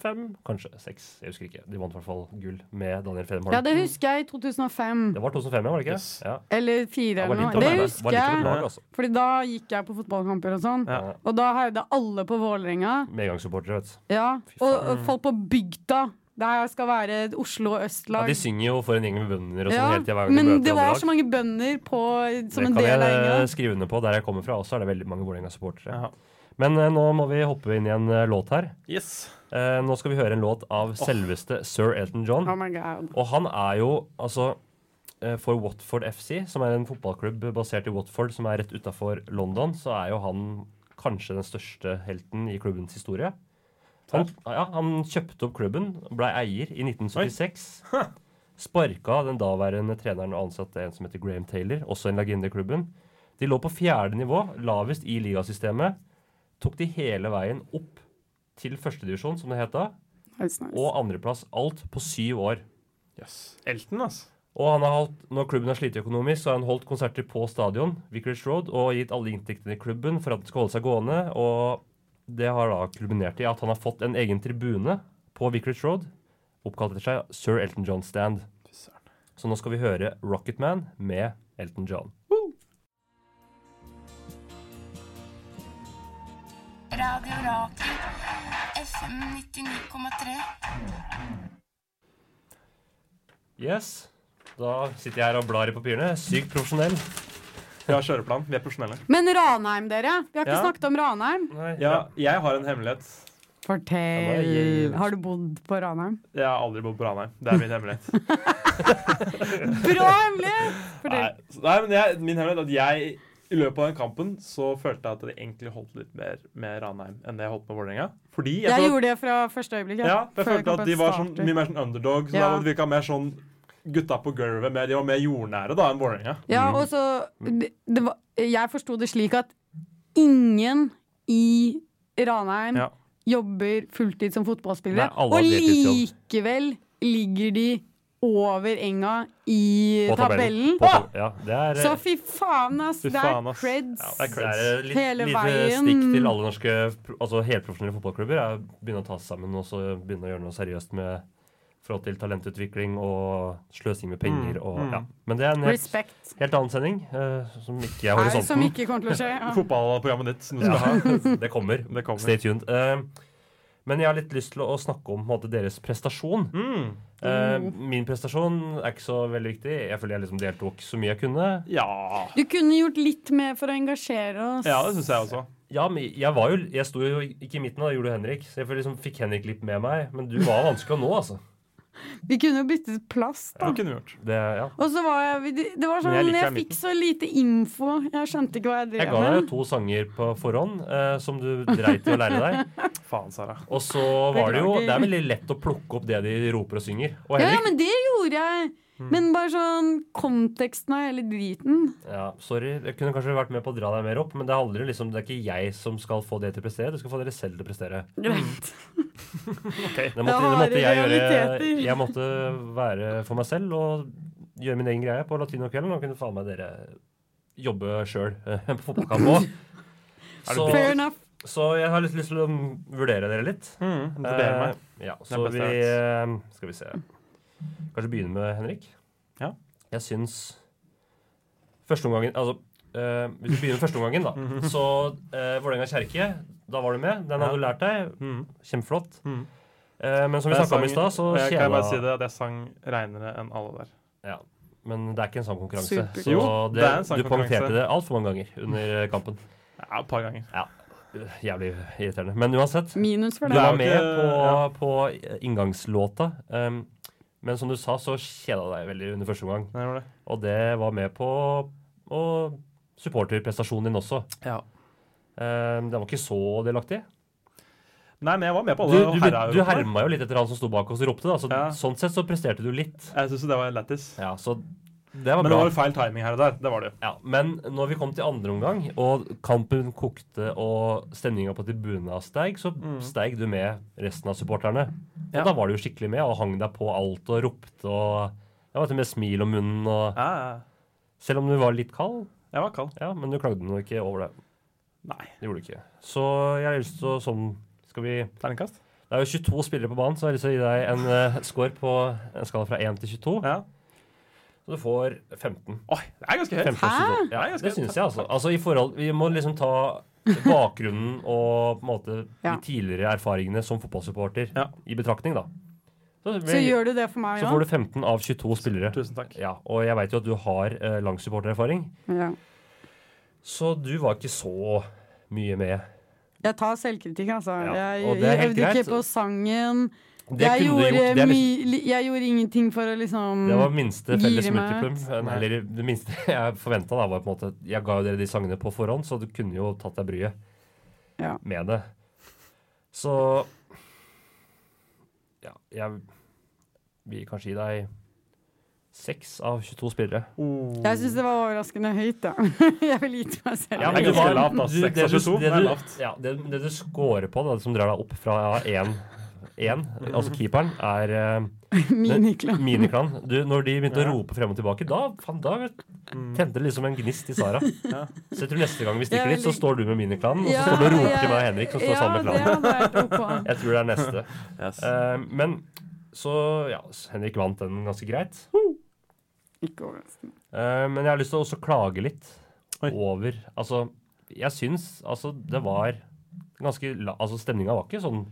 [SPEAKER 2] kanskje 6. Jeg husker ikke. De vant i hvert fall gull med Daniel Fedem Holm.
[SPEAKER 3] Ja, det husker jeg i 2005.
[SPEAKER 2] Det var 2005, ja, var det ikke?
[SPEAKER 4] Yes.
[SPEAKER 2] Ja.
[SPEAKER 3] Eller fire
[SPEAKER 2] Det var
[SPEAKER 3] eller
[SPEAKER 2] litt
[SPEAKER 3] noe.
[SPEAKER 2] av
[SPEAKER 3] Det
[SPEAKER 2] et- var
[SPEAKER 3] husker
[SPEAKER 2] litt av et
[SPEAKER 3] jeg.
[SPEAKER 2] lag, altså.
[SPEAKER 3] Fordi da gikk jeg på fotballkamper og sånn.
[SPEAKER 4] Ja.
[SPEAKER 3] Og da heide alle på Vålerenga.
[SPEAKER 2] Medgangssupportere, vet du.
[SPEAKER 3] Ja. Og, og folk på bygda. Der skal være et Oslo og
[SPEAKER 2] Ja,
[SPEAKER 3] Østlag.
[SPEAKER 2] de synger jo for en gjeng med bønder og sånn
[SPEAKER 3] Ja,
[SPEAKER 2] hele tida.
[SPEAKER 3] men det var så mange bønder på, som en
[SPEAKER 2] det
[SPEAKER 3] del
[SPEAKER 2] kan
[SPEAKER 3] av
[SPEAKER 2] jeg eh,
[SPEAKER 3] gjengen.
[SPEAKER 2] skrive under på. Der jeg kommer fra også, er det veldig mange Vålerenga-supportere.
[SPEAKER 4] Ja.
[SPEAKER 2] Men eh, nå må vi hoppe inn i en eh, låt her.
[SPEAKER 4] Yes.
[SPEAKER 2] Eh, nå skal vi høre en låt av selveste sir Elton John.
[SPEAKER 3] Oh my god.
[SPEAKER 2] Og han er jo altså eh, For Watford FC, som er en fotballklubb basert i Watford, som er rett utafor London, så er jo han kanskje den største helten i klubbens historie. Han, ja, han kjøpte opp klubben, blei eier i 1976. Sparka den daværende treneren og ansatte en som heter Graham Taylor, også en legende i klubben. De lå på fjerde nivå, lavest i ligasystemet. Tok de hele veien opp til førstedivisjon, som det het da,
[SPEAKER 3] That's nice.
[SPEAKER 2] og andreplass. Alt på syv år.
[SPEAKER 4] yes. Elton, altså.
[SPEAKER 2] Og han har holdt, når klubben har slitt økonomisk, så har han holdt konserter på stadion, Vicarage Road, og gitt alle inntektene i klubben for at den skal holde seg gående. Og det har da kulminert i at han har fått en egen tribune på Vicarage Road, oppkalt etter seg Sir Elton John Stand. Så nå skal vi høre Rocket Man med Elton John.
[SPEAKER 5] Radio Rakel, FM 99,3.
[SPEAKER 2] Yes. Da sitter jeg her og blar i papirene. Sykt profesjonell.
[SPEAKER 4] Vi har kjøreplan. Vi er profesjonelle.
[SPEAKER 3] Men Ranheim, dere. Vi har ikke
[SPEAKER 4] Ja.
[SPEAKER 3] snakket om Ranheim.
[SPEAKER 4] Ja, jeg har en
[SPEAKER 2] Ja, det
[SPEAKER 4] hemmelighet.
[SPEAKER 2] er
[SPEAKER 3] Fortell.
[SPEAKER 2] gøy.
[SPEAKER 3] Har du bodd på Ranheim?
[SPEAKER 4] Jeg har aldri bodd på Ranheim. Det er min hemmelighet.
[SPEAKER 3] Bra hemmelighet!
[SPEAKER 4] Nei,
[SPEAKER 3] Fortell.
[SPEAKER 4] så- nei men jeg, min hemmelighet er at jeg i løpet av den kampen så følte jeg at det egentlig holdt litt mer med Ranheim enn det jeg holdt med Vålerenga. Fordi jeg,
[SPEAKER 3] Jeg
[SPEAKER 4] følte-
[SPEAKER 3] gjorde det fra første øyeblikk. jeg.
[SPEAKER 4] ja, for jeg
[SPEAKER 3] Før
[SPEAKER 4] følte at
[SPEAKER 3] kampen
[SPEAKER 4] de var sånn,
[SPEAKER 3] starter.
[SPEAKER 4] mye mer sånn underdog. Så
[SPEAKER 3] Ja.
[SPEAKER 4] da virka mer sånn gutta på gulvet. Mer, de var mer jordnære da enn Vålerenga.
[SPEAKER 3] Ja, og så det, det var, Jeg forsto det slik at ingen i Ranheim
[SPEAKER 4] Ja.
[SPEAKER 3] jobber fulltid som fotballspillere,
[SPEAKER 2] Nei, alle
[SPEAKER 3] og
[SPEAKER 2] har deltidsjobb.
[SPEAKER 3] likevel ligger de over enga i
[SPEAKER 2] På tabellen.
[SPEAKER 3] tabellen.
[SPEAKER 2] På tab ja, det er
[SPEAKER 3] Så fy faen, ass!
[SPEAKER 4] Fy
[SPEAKER 3] Det
[SPEAKER 4] faen,
[SPEAKER 3] er
[SPEAKER 4] ass.
[SPEAKER 3] creds.
[SPEAKER 4] Ja, det er
[SPEAKER 2] Det
[SPEAKER 4] creds.
[SPEAKER 2] er et litt,
[SPEAKER 3] Hele
[SPEAKER 2] lite
[SPEAKER 3] veien.
[SPEAKER 2] stikk til alle norske pro- altså helprofesjonelle fotballklubber. er å Begynne å ta seg sammen og så begynne å gjøre noe seriøst med forhold til talentutvikling og sløsing med penger
[SPEAKER 4] Mm,
[SPEAKER 2] og
[SPEAKER 4] mm.
[SPEAKER 2] ja. Men det er en helt,
[SPEAKER 3] Respekt.
[SPEAKER 2] helt annen sending eh, som ikke er
[SPEAKER 3] Nei, som
[SPEAKER 2] horisonten.
[SPEAKER 3] ikke kommer til å skje. Ja.
[SPEAKER 4] Fotballprogrammet ditt som du skal ha.
[SPEAKER 2] Ja, det kommer.
[SPEAKER 4] Det kommer.
[SPEAKER 2] Stay tuned. Eh, men jeg har litt lyst til å snakke om på en måte, deres prestasjon.
[SPEAKER 4] Mm.
[SPEAKER 3] Oh.
[SPEAKER 2] Eh, min prestasjon er ikke så veldig viktig. Jeg føler jeg liksom deltok så mye jeg kunne.
[SPEAKER 4] Ja.
[SPEAKER 3] Du kunne gjort litt mer for å engasjere oss.
[SPEAKER 4] ja, det syns jeg også.
[SPEAKER 2] Ja, men jeg var jo Jeg sto jo ikke i midten, da gjorde du Henrik. Så jeg føler liksom fikk Henrik litt med meg. Men du var vanskelig å nå, altså.
[SPEAKER 3] Vi kunne jo byttet plass, da.
[SPEAKER 4] Det kunne vi gjort.
[SPEAKER 2] Det, ja.
[SPEAKER 3] Og så var jeg Det var sånn,
[SPEAKER 4] Men jeg
[SPEAKER 3] jeg,
[SPEAKER 4] liker deg i
[SPEAKER 3] fikk så lite info. Jeg skjønte ikke hva jeg
[SPEAKER 2] Jeg
[SPEAKER 3] drev
[SPEAKER 2] ga deg jo
[SPEAKER 3] med.
[SPEAKER 2] to sanger på forhånd eh, som du dreit i å lære deg.
[SPEAKER 4] Faen, Sara.
[SPEAKER 2] Og så var det jo Det er veldig lett å plukke opp det de roper og synger. Og
[SPEAKER 3] Ja, ja,
[SPEAKER 2] Henrik
[SPEAKER 3] men det gjorde jeg.
[SPEAKER 2] Mm.
[SPEAKER 3] Men bare sånn konteksten av hele driten.
[SPEAKER 2] ja, Sorry, jeg kunne kanskje vært med på å dra deg mer opp, men det handler liksom Det er ikke jeg som skal få det til å prestere, du skal få dere selv til å prestere.
[SPEAKER 3] Greit.
[SPEAKER 2] Det måtte,
[SPEAKER 3] Det
[SPEAKER 2] det måtte jeg
[SPEAKER 3] var
[SPEAKER 2] gjøre.
[SPEAKER 3] realiteter.
[SPEAKER 2] Jeg måtte være for meg selv og gjøre min egen greie på latinokvelden. Og kunne faen meg dere jobbe sjøl eh, på fotballkamp òg. Så,
[SPEAKER 3] Fair enough.
[SPEAKER 2] så jeg har litt lyst til å vurdere dere litt.
[SPEAKER 4] Mm, det ber jeg
[SPEAKER 2] Eh,
[SPEAKER 4] meg.
[SPEAKER 2] ja,
[SPEAKER 4] Det er
[SPEAKER 2] så
[SPEAKER 4] best
[SPEAKER 2] vi
[SPEAKER 4] jeg
[SPEAKER 2] eh, Skal vi se. Kanskje begynne med Henrik.
[SPEAKER 4] Ja.
[SPEAKER 2] Jeg syns førsteomgangen Altså, eh, hvis vi begynner med førsteomgangen, da. Så uh, Vålerenga kjerke, da var du med. Den
[SPEAKER 4] Ja.
[SPEAKER 2] hadde du lært deg.
[SPEAKER 4] Mm.
[SPEAKER 2] Kjempeflott.
[SPEAKER 4] Mm.
[SPEAKER 2] Eh, men som vi
[SPEAKER 4] Jeg
[SPEAKER 2] snakka om i
[SPEAKER 4] sang-
[SPEAKER 2] stad, så
[SPEAKER 4] og jeg Kan jeg
[SPEAKER 2] kjela
[SPEAKER 4] bare si det, at jeg sang reinere enn alle der.
[SPEAKER 2] Ja, men det er ikke en sangkonkurranse.
[SPEAKER 3] Super.
[SPEAKER 2] Så
[SPEAKER 4] Jo,
[SPEAKER 2] det,
[SPEAKER 4] det er en
[SPEAKER 2] du
[SPEAKER 4] sangkonkurranse.
[SPEAKER 2] poengterte det altfor mange ganger under eh, kampen.
[SPEAKER 4] Ja, et par ganger.
[SPEAKER 2] Øh, Jævlig irriterende. Men uansett,
[SPEAKER 3] Minus for
[SPEAKER 2] du
[SPEAKER 4] Det er
[SPEAKER 2] var
[SPEAKER 3] det.
[SPEAKER 4] jo
[SPEAKER 2] med
[SPEAKER 4] ikke-
[SPEAKER 2] på,
[SPEAKER 4] ja.
[SPEAKER 2] på inngangslåta. Um, men som du sa, så kjeda deg veldig under første omgang.
[SPEAKER 4] Jeg gjorde det.
[SPEAKER 2] Og det var med på å supporterprestasjonen din også. Um, det var ikke så delaktig.
[SPEAKER 4] Nei, men jeg var med på
[SPEAKER 2] Du,
[SPEAKER 4] alle
[SPEAKER 2] du,
[SPEAKER 4] herreeuropene.
[SPEAKER 2] du herma jo litt etter han som sto bak oss og ropte, da. Så
[SPEAKER 4] Ja.
[SPEAKER 2] sånn sett så presterte du litt.
[SPEAKER 4] Jeg syns det var lættis.
[SPEAKER 2] Ja, så det var
[SPEAKER 4] Men det
[SPEAKER 2] bra.
[SPEAKER 4] var jo feil timing her og der. Det var det jo.
[SPEAKER 2] Ja, Men når vi kom til andre omgang, og kampen kokte og stemninga på tribuna steig, så steig du med resten av supporterne. Og
[SPEAKER 4] Mm. Ja.
[SPEAKER 2] da var du jo skikkelig med og hang deg på alt og ropte og Jeg var til og med smil om munnen og
[SPEAKER 4] Ja, ja.
[SPEAKER 2] Selv om du var litt kald,
[SPEAKER 4] jeg var kald.
[SPEAKER 2] ja, men du klagde nå ikke over det.
[SPEAKER 4] Nei.
[SPEAKER 2] Det gjorde du ikke. Så jeg har lyst til å sånn Skal vi
[SPEAKER 4] Terningkast?
[SPEAKER 2] Det er jo 22 spillere på banen, så jeg har lyst til å gi deg en eh, score på en skala fra 1 til 22.
[SPEAKER 4] Ja.
[SPEAKER 2] Så du får 15.
[SPEAKER 4] Oi, det er ganske høyt.
[SPEAKER 2] 15 og 22.
[SPEAKER 4] Nei,
[SPEAKER 2] Ja,
[SPEAKER 4] jeg skal-
[SPEAKER 2] det syns jeg, altså. altså i forhold, vi må liksom ta bakgrunnen og på en måte de
[SPEAKER 3] Ja.
[SPEAKER 2] tidligere erfaringene som fotballsupporter
[SPEAKER 4] Ja.
[SPEAKER 2] i betraktning, da. Så,
[SPEAKER 3] Så gjør du det for meg
[SPEAKER 2] så får
[SPEAKER 3] òg?
[SPEAKER 2] du 15 av 22 spillere.
[SPEAKER 4] Tusen takk.
[SPEAKER 2] Ja, og jeg veit jo at du har eh, lang supportererfaring,
[SPEAKER 3] Ja.
[SPEAKER 2] så du var ikke så mye med.
[SPEAKER 3] Jeg tar selvkritikk, altså.
[SPEAKER 2] Ja, og
[SPEAKER 3] Jeg,
[SPEAKER 2] det er
[SPEAKER 3] jeg
[SPEAKER 2] helt
[SPEAKER 3] øvde
[SPEAKER 2] greit.
[SPEAKER 3] ikke på sangen.
[SPEAKER 2] Det
[SPEAKER 3] Jeg
[SPEAKER 2] kunne du
[SPEAKER 3] gjorde,
[SPEAKER 2] gjort. Det, er liksom,
[SPEAKER 3] my- li- jeg gjorde ingenting for å liksom
[SPEAKER 2] det var minste felles
[SPEAKER 3] Gire meg
[SPEAKER 2] multiplum. Nei, Eller det minste jeg forventa, da, var på en måte Jeg ga jo dere de sangene på forhånd, så du kunne jo tatt deg bryet.
[SPEAKER 3] Ja.
[SPEAKER 2] med det. Så ja, jeg vil kanskje gi deg seks av 22 spillere.
[SPEAKER 4] Oh.
[SPEAKER 3] Jeg syns det var overraskende høyt, da. Jeg ville gitt meg selv.
[SPEAKER 4] Ja, men det er ganske lavt, ass.
[SPEAKER 2] du-
[SPEAKER 4] Seks
[SPEAKER 2] det
[SPEAKER 4] av
[SPEAKER 2] du-
[SPEAKER 4] 22,
[SPEAKER 2] det
[SPEAKER 4] det er
[SPEAKER 2] du-
[SPEAKER 4] lavt.
[SPEAKER 2] Ja, det, det du scorer på, da, som drar deg opp fra én, én altså keeperen, er uh,
[SPEAKER 3] Miniklan.
[SPEAKER 2] miniklan. Du, når de begynte
[SPEAKER 4] Ja. Mm.
[SPEAKER 2] å rope frem og tilbake, da, faen, da tente det liksom en gnist i Sara. Så jeg tror neste gang vi
[SPEAKER 3] Jeg
[SPEAKER 2] stikker dit,
[SPEAKER 3] vil-
[SPEAKER 2] så står du med miniklanen, og så
[SPEAKER 3] Ja,
[SPEAKER 2] står du og roper
[SPEAKER 3] jeg-
[SPEAKER 2] til meg og Henrik, som står sammen med
[SPEAKER 3] Ja,
[SPEAKER 2] klanen.
[SPEAKER 3] det hadde vært ok.
[SPEAKER 2] Jeg tror det er neste.
[SPEAKER 4] Yes.
[SPEAKER 2] Eh, men så Ja, Henrik vant den ganske greit.
[SPEAKER 3] Ikke overraskende.
[SPEAKER 2] Eh, men jeg har lyst til å også klage litt
[SPEAKER 4] Oi.
[SPEAKER 2] over Altså, jeg syns altså det var ganske la, Altså, stemninga var ikke sånn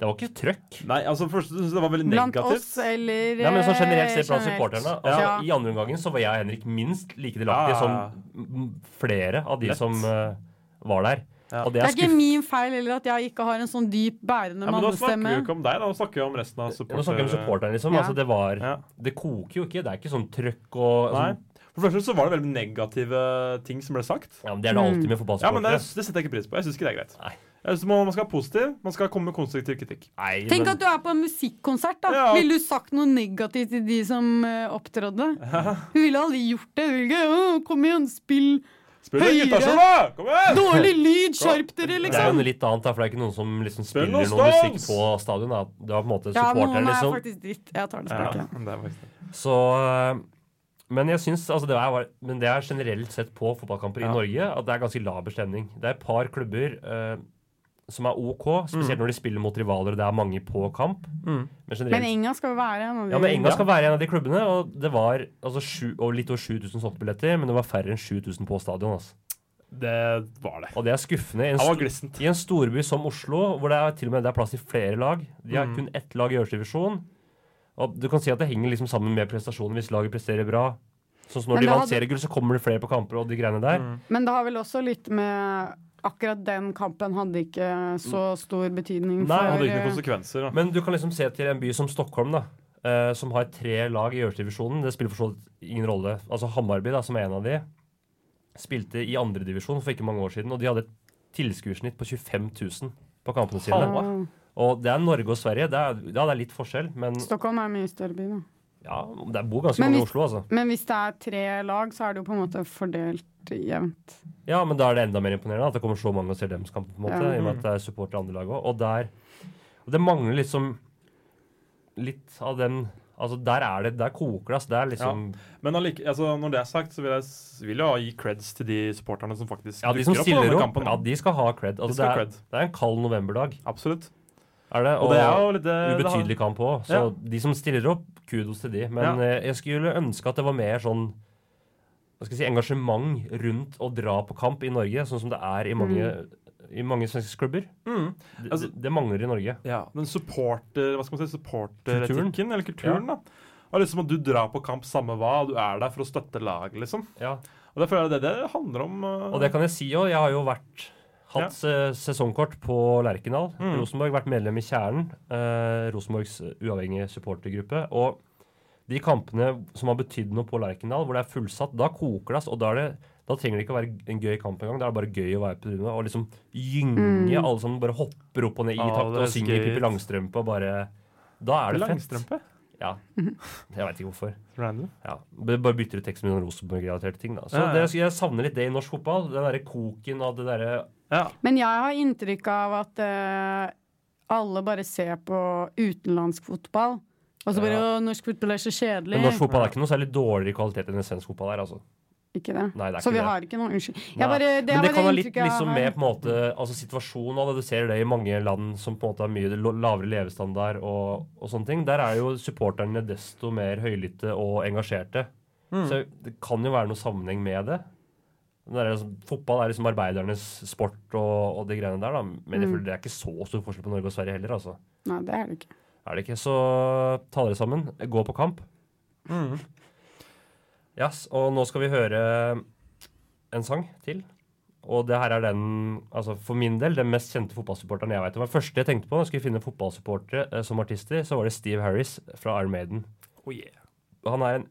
[SPEAKER 2] Det var ikke trøkk.
[SPEAKER 4] Nei, altså først synes jeg det var veldig
[SPEAKER 3] Blant
[SPEAKER 4] negativt.
[SPEAKER 3] oss eh, eller
[SPEAKER 2] Nei, men sånn generelt
[SPEAKER 3] eh,
[SPEAKER 2] sett blant
[SPEAKER 3] generelt.
[SPEAKER 2] supporterne. Altså,
[SPEAKER 3] Ja.
[SPEAKER 2] I andre omgangen så var jeg og Henrik minst like delaktige
[SPEAKER 4] Ja.
[SPEAKER 2] som m- flere av de
[SPEAKER 4] Lett.
[SPEAKER 2] som eh, var der.
[SPEAKER 4] Ja.
[SPEAKER 2] Og det
[SPEAKER 3] Det
[SPEAKER 2] er,
[SPEAKER 3] er ikke
[SPEAKER 2] skuff-
[SPEAKER 3] min feil heller at jeg ikke har en sånn dyp bærende
[SPEAKER 4] Ja, men da snakker
[SPEAKER 3] mannestemme.
[SPEAKER 4] vi jo ikke om deg, da. Da snakker vi om resten av
[SPEAKER 2] Nå snakker vi om
[SPEAKER 4] supporter...
[SPEAKER 2] supporterne, liksom.
[SPEAKER 3] Ja.
[SPEAKER 2] Altså, det var
[SPEAKER 4] Ja.
[SPEAKER 2] Det koker jo ikke. Det er ikke sånn trøkk og
[SPEAKER 4] Nei.
[SPEAKER 2] sånn-
[SPEAKER 4] For det første så var det veldig negative ting som ble sagt.
[SPEAKER 2] ja, men Det er det alltid med
[SPEAKER 3] Mm.
[SPEAKER 4] Ja, men det,
[SPEAKER 2] fotballsupportere.
[SPEAKER 4] det setter jeg ikke pris på. Jeg syns ikke det er greit.
[SPEAKER 2] Nei.
[SPEAKER 4] Jeg synes man, man skal være positiv. Man skal komme med konstruktiv kritikk.
[SPEAKER 2] Nei,
[SPEAKER 3] Tenk
[SPEAKER 2] men-
[SPEAKER 3] at du er på en musikkonsert, da.
[SPEAKER 4] Ja.
[SPEAKER 3] Ville du sagt noe negativt til de som eh, opptrådde? Hun ville aldri gjort det. Hun ville ikke «Å, Kom igjen, spill.
[SPEAKER 4] Spill litt
[SPEAKER 3] Høyre!
[SPEAKER 4] gitarsola! Kom igjen!
[SPEAKER 3] Dårlig lyd, skjerp dere,
[SPEAKER 2] Det er jo
[SPEAKER 3] liksom.
[SPEAKER 2] noe litt annet, da, for det er ikke noen som liksom
[SPEAKER 4] Spill
[SPEAKER 2] spiller noe
[SPEAKER 4] noe Stones!
[SPEAKER 2] musikk på stadion. Da. Det var på en måte
[SPEAKER 3] Ja,
[SPEAKER 2] supporteren,
[SPEAKER 3] noen er
[SPEAKER 2] liksom.
[SPEAKER 3] faktisk dritt. Jeg tar det
[SPEAKER 4] Ja,
[SPEAKER 3] tilbake.
[SPEAKER 4] det er faktisk det.
[SPEAKER 2] Så, øh, men jeg syns altså, det, er, men det er generelt sett på fotballkamper i Norge at det er ganske laber stemning. Det er et par klubber øh, som er OK, spesielt når de spiller mot rivaler og det er mange på kamp.
[SPEAKER 4] Mm.
[SPEAKER 2] Men generelt
[SPEAKER 3] Men Enga skal jo være en av de
[SPEAKER 2] ja, men Enga skal være en av de klubbene, og det var altså, sju, og litt over 7000 solgte billetter, men det var færre enn 7000 på stadion. Altså.
[SPEAKER 4] Det var det.
[SPEAKER 2] Og det er skuffende. I en,
[SPEAKER 4] Han var
[SPEAKER 2] st
[SPEAKER 4] glissent.
[SPEAKER 2] I en storby som Oslo, hvor det er til og med det er plass til flere lag De har
[SPEAKER 4] Mm.
[SPEAKER 2] kun ett lag i øverste divisjon. Og du kan si at det henger liksom sammen med prestasjonen hvis laget presterer bra. Sånn som når
[SPEAKER 3] Men
[SPEAKER 2] de
[SPEAKER 3] det
[SPEAKER 2] vant
[SPEAKER 3] hadde-
[SPEAKER 2] seriegull, så kommer det flere på kamper og de greiene der.
[SPEAKER 4] Mm.
[SPEAKER 3] Men det har vel også litt med Akkurat den kampen hadde ikke så stor betydning
[SPEAKER 2] Nei,
[SPEAKER 4] Det
[SPEAKER 3] for
[SPEAKER 4] hadde ikke noen
[SPEAKER 3] eh,
[SPEAKER 4] konsekvenser. Da.
[SPEAKER 2] Men du kan liksom se til en by som Stockholm, da. eh, som har tre lag i øverste divisjonen. Det spiller for så vidt ingen rolle. Altså Hammarby, da, som er en av de, spilte i andredivisjon for ikke mange år siden. Og de hadde et tilskuersnitt på 25 000 på kampene sine.
[SPEAKER 4] Halv.
[SPEAKER 3] ja,
[SPEAKER 2] Og det er Norge og Sverige. Det er, ja, det er litt forskjell, men
[SPEAKER 3] eh, Stockholm er en mye større by, da.
[SPEAKER 2] ja, det bor ganske
[SPEAKER 3] Men
[SPEAKER 2] mange i
[SPEAKER 3] hvis-
[SPEAKER 2] Oslo, altså.
[SPEAKER 3] Men hvis det er tre lag, så er det jo på en måte fordelt jevnt.
[SPEAKER 2] Ja, men da er det enda mer imponerende at det kommer så mange og ser dems kamp, på en måte,
[SPEAKER 3] Ja.
[SPEAKER 2] i og med at det er supporter i andre lag òg. Og der og Det mangler liksom litt av den Altså, der er det Der koker det, altså. Det er liksom
[SPEAKER 4] Men allike, altså, når det er sagt, så vil jeg, s- vil jeg gi creds til de supporterne som faktisk
[SPEAKER 2] Ja, de som stiller
[SPEAKER 4] denne
[SPEAKER 2] opp,
[SPEAKER 4] kampen.
[SPEAKER 2] ja, de skal ha cred.
[SPEAKER 4] De
[SPEAKER 2] Altså,
[SPEAKER 4] skal ha
[SPEAKER 2] det,
[SPEAKER 4] cred.
[SPEAKER 2] er, det er en kald novemberdag,
[SPEAKER 4] Absolutt.
[SPEAKER 2] er det.
[SPEAKER 4] Og det er jo litt eh, det, det har-
[SPEAKER 2] ubetydelig kamp òg. Så
[SPEAKER 4] Ja.
[SPEAKER 2] de som stiller opp, kudos til de. Men
[SPEAKER 4] Ja.
[SPEAKER 2] eh, jeg skulle ønske at det var mer sånn hva skal jeg si, engasjement rundt å dra på kamp i Norge, sånn som det er i mange, i mange svenske klubber.
[SPEAKER 4] Mm.
[SPEAKER 2] Det,
[SPEAKER 4] Altså-
[SPEAKER 2] det mangler i Norge.
[SPEAKER 4] Ja, den supporter, hva skal man si, supporteretikken,
[SPEAKER 2] Kulturen.
[SPEAKER 4] eller kulturen, da. Og liksom at du drar på kamp samme hva, og du er der for å støtte laget, liksom.
[SPEAKER 2] Ja.
[SPEAKER 4] Og det føler jeg det det handler om. eh,
[SPEAKER 2] Og det kan jeg si òg. Jeg har jo vært hatt se- sesongkort på Lerkendal.
[SPEAKER 4] Mm.
[SPEAKER 2] Rosenborg vært medlem i Kjernen, eh, Rosenborgs uavhengige supportergruppe. Og de kampene som har betydd noe på Lerkendal, hvor det er fullsatt, da koker det. ass, Og da, er det, da trenger det ikke å være en gøy kamp engang. Da er det bare gøy å være på tribunen og liksom gynge. Alle sammen bare hopper opp og ned i
[SPEAKER 4] Ah,
[SPEAKER 2] takt
[SPEAKER 4] det er
[SPEAKER 2] og synger
[SPEAKER 4] skøyt.
[SPEAKER 2] Pippi Langstrømpe og bare Da er det fett.
[SPEAKER 4] Langstrømpe?
[SPEAKER 2] Ja. Jeg veit ikke hvorfor.
[SPEAKER 4] Random.
[SPEAKER 2] Ja, b- Bare bytter ut teksten med noen Rosenborg-relaterte ting. da Så
[SPEAKER 4] Ja, ja.
[SPEAKER 2] Det, Jeg savner litt det i norsk fotball. Den derre koken av det derre
[SPEAKER 4] Ja.
[SPEAKER 3] Men jeg har inntrykk av at eh, alle bare ser på utenlandsk fotball. Og så bare
[SPEAKER 2] Ja.
[SPEAKER 3] «Å, norsk fotball er så kjedelig.
[SPEAKER 2] Men norsk fotball er ikke noe særlig dårligere kvalitet enn svensk fotball er. altså
[SPEAKER 3] Ikke det.
[SPEAKER 2] Nei, det er
[SPEAKER 3] så
[SPEAKER 2] ikke
[SPEAKER 3] vi
[SPEAKER 2] det.
[SPEAKER 3] har ikke noe unnskyld.
[SPEAKER 2] Nei.
[SPEAKER 3] Jeg bare, det
[SPEAKER 2] Men
[SPEAKER 3] er
[SPEAKER 2] det kan
[SPEAKER 3] bare
[SPEAKER 2] ha litt
[SPEAKER 3] inntrykket jeg
[SPEAKER 2] liksom
[SPEAKER 3] har.
[SPEAKER 2] med på en måte Altså situasjonen og det du ser det i mange land som på en måte har mye lo- lavere levestandard og, og sånne ting. Der er jo supporterne desto mer høylytte og engasjerte.
[SPEAKER 4] Mm.
[SPEAKER 2] Så det kan jo være noe sammenheng med det. Men Det er liksom, fotball er liksom arbeidernes sport og, og de greiene der, da. Men jeg
[SPEAKER 4] Mm.
[SPEAKER 2] føler det er ikke så stor forskjell på Norge og Sverige heller, altså.
[SPEAKER 3] Nei, det er det ikke.
[SPEAKER 2] Er det ikke, så ta dere sammen. Gå på kamp. Yes, og nå skal vi høre en sang til. Og det her er den, altså for min del, den mest kjente fotballsupporteren jeg vet om. Den første jeg tenkte på når jeg skulle finne fotballsupportere eh, som artister, så var det Steve Harris fra Iron Maiden.
[SPEAKER 4] Oh, yeah.
[SPEAKER 2] Han er en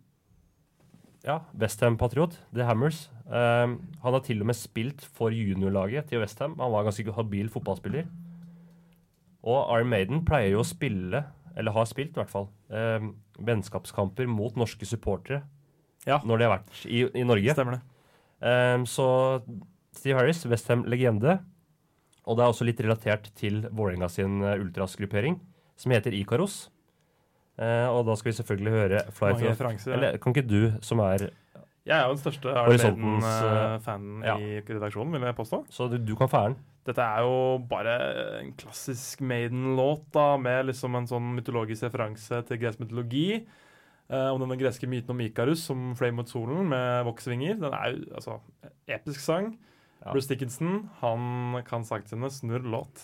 [SPEAKER 2] ja, Westham-patriot, The Hammers. Um, han har til og med spilt for juniorlaget til Westham. Han var en ganske habil fotballspiller. Og Iron Maiden pleier jo å spille, eller har spilt i hvert fall, um, vennskapskamper mot norske supportere
[SPEAKER 4] Ja.
[SPEAKER 2] når de har vært i, i Norge.
[SPEAKER 4] Stemmer det.
[SPEAKER 2] Um, så Steve Harris, Westham-legende. Og det er også litt relatert til Vålerenga sin eh, ultrasgruppering, som heter Ikaros. Eh, og da skal vi selvfølgelig høre Fly
[SPEAKER 4] Mange
[SPEAKER 2] to
[SPEAKER 4] referanser.
[SPEAKER 2] Eller kan ikke du, som er
[SPEAKER 4] Jeg er jo den største
[SPEAKER 2] Horisontens,
[SPEAKER 4] Armaden-fanen
[SPEAKER 2] eh, ja.
[SPEAKER 4] i redaksjonen, vil jeg påstå.
[SPEAKER 2] Så du, du kan fære den.
[SPEAKER 4] Dette er jo bare en klassisk Maiden-låt, da, med liksom en sånn mytologisk referanse til gresk mytologi. eh, om denne greske myten om Ikarus som fløy mot solen med voksvinger. Den er jo altså episk sang.
[SPEAKER 2] Ja.
[SPEAKER 4] Bruce Dickinson, han kan sagt sine snurr låt.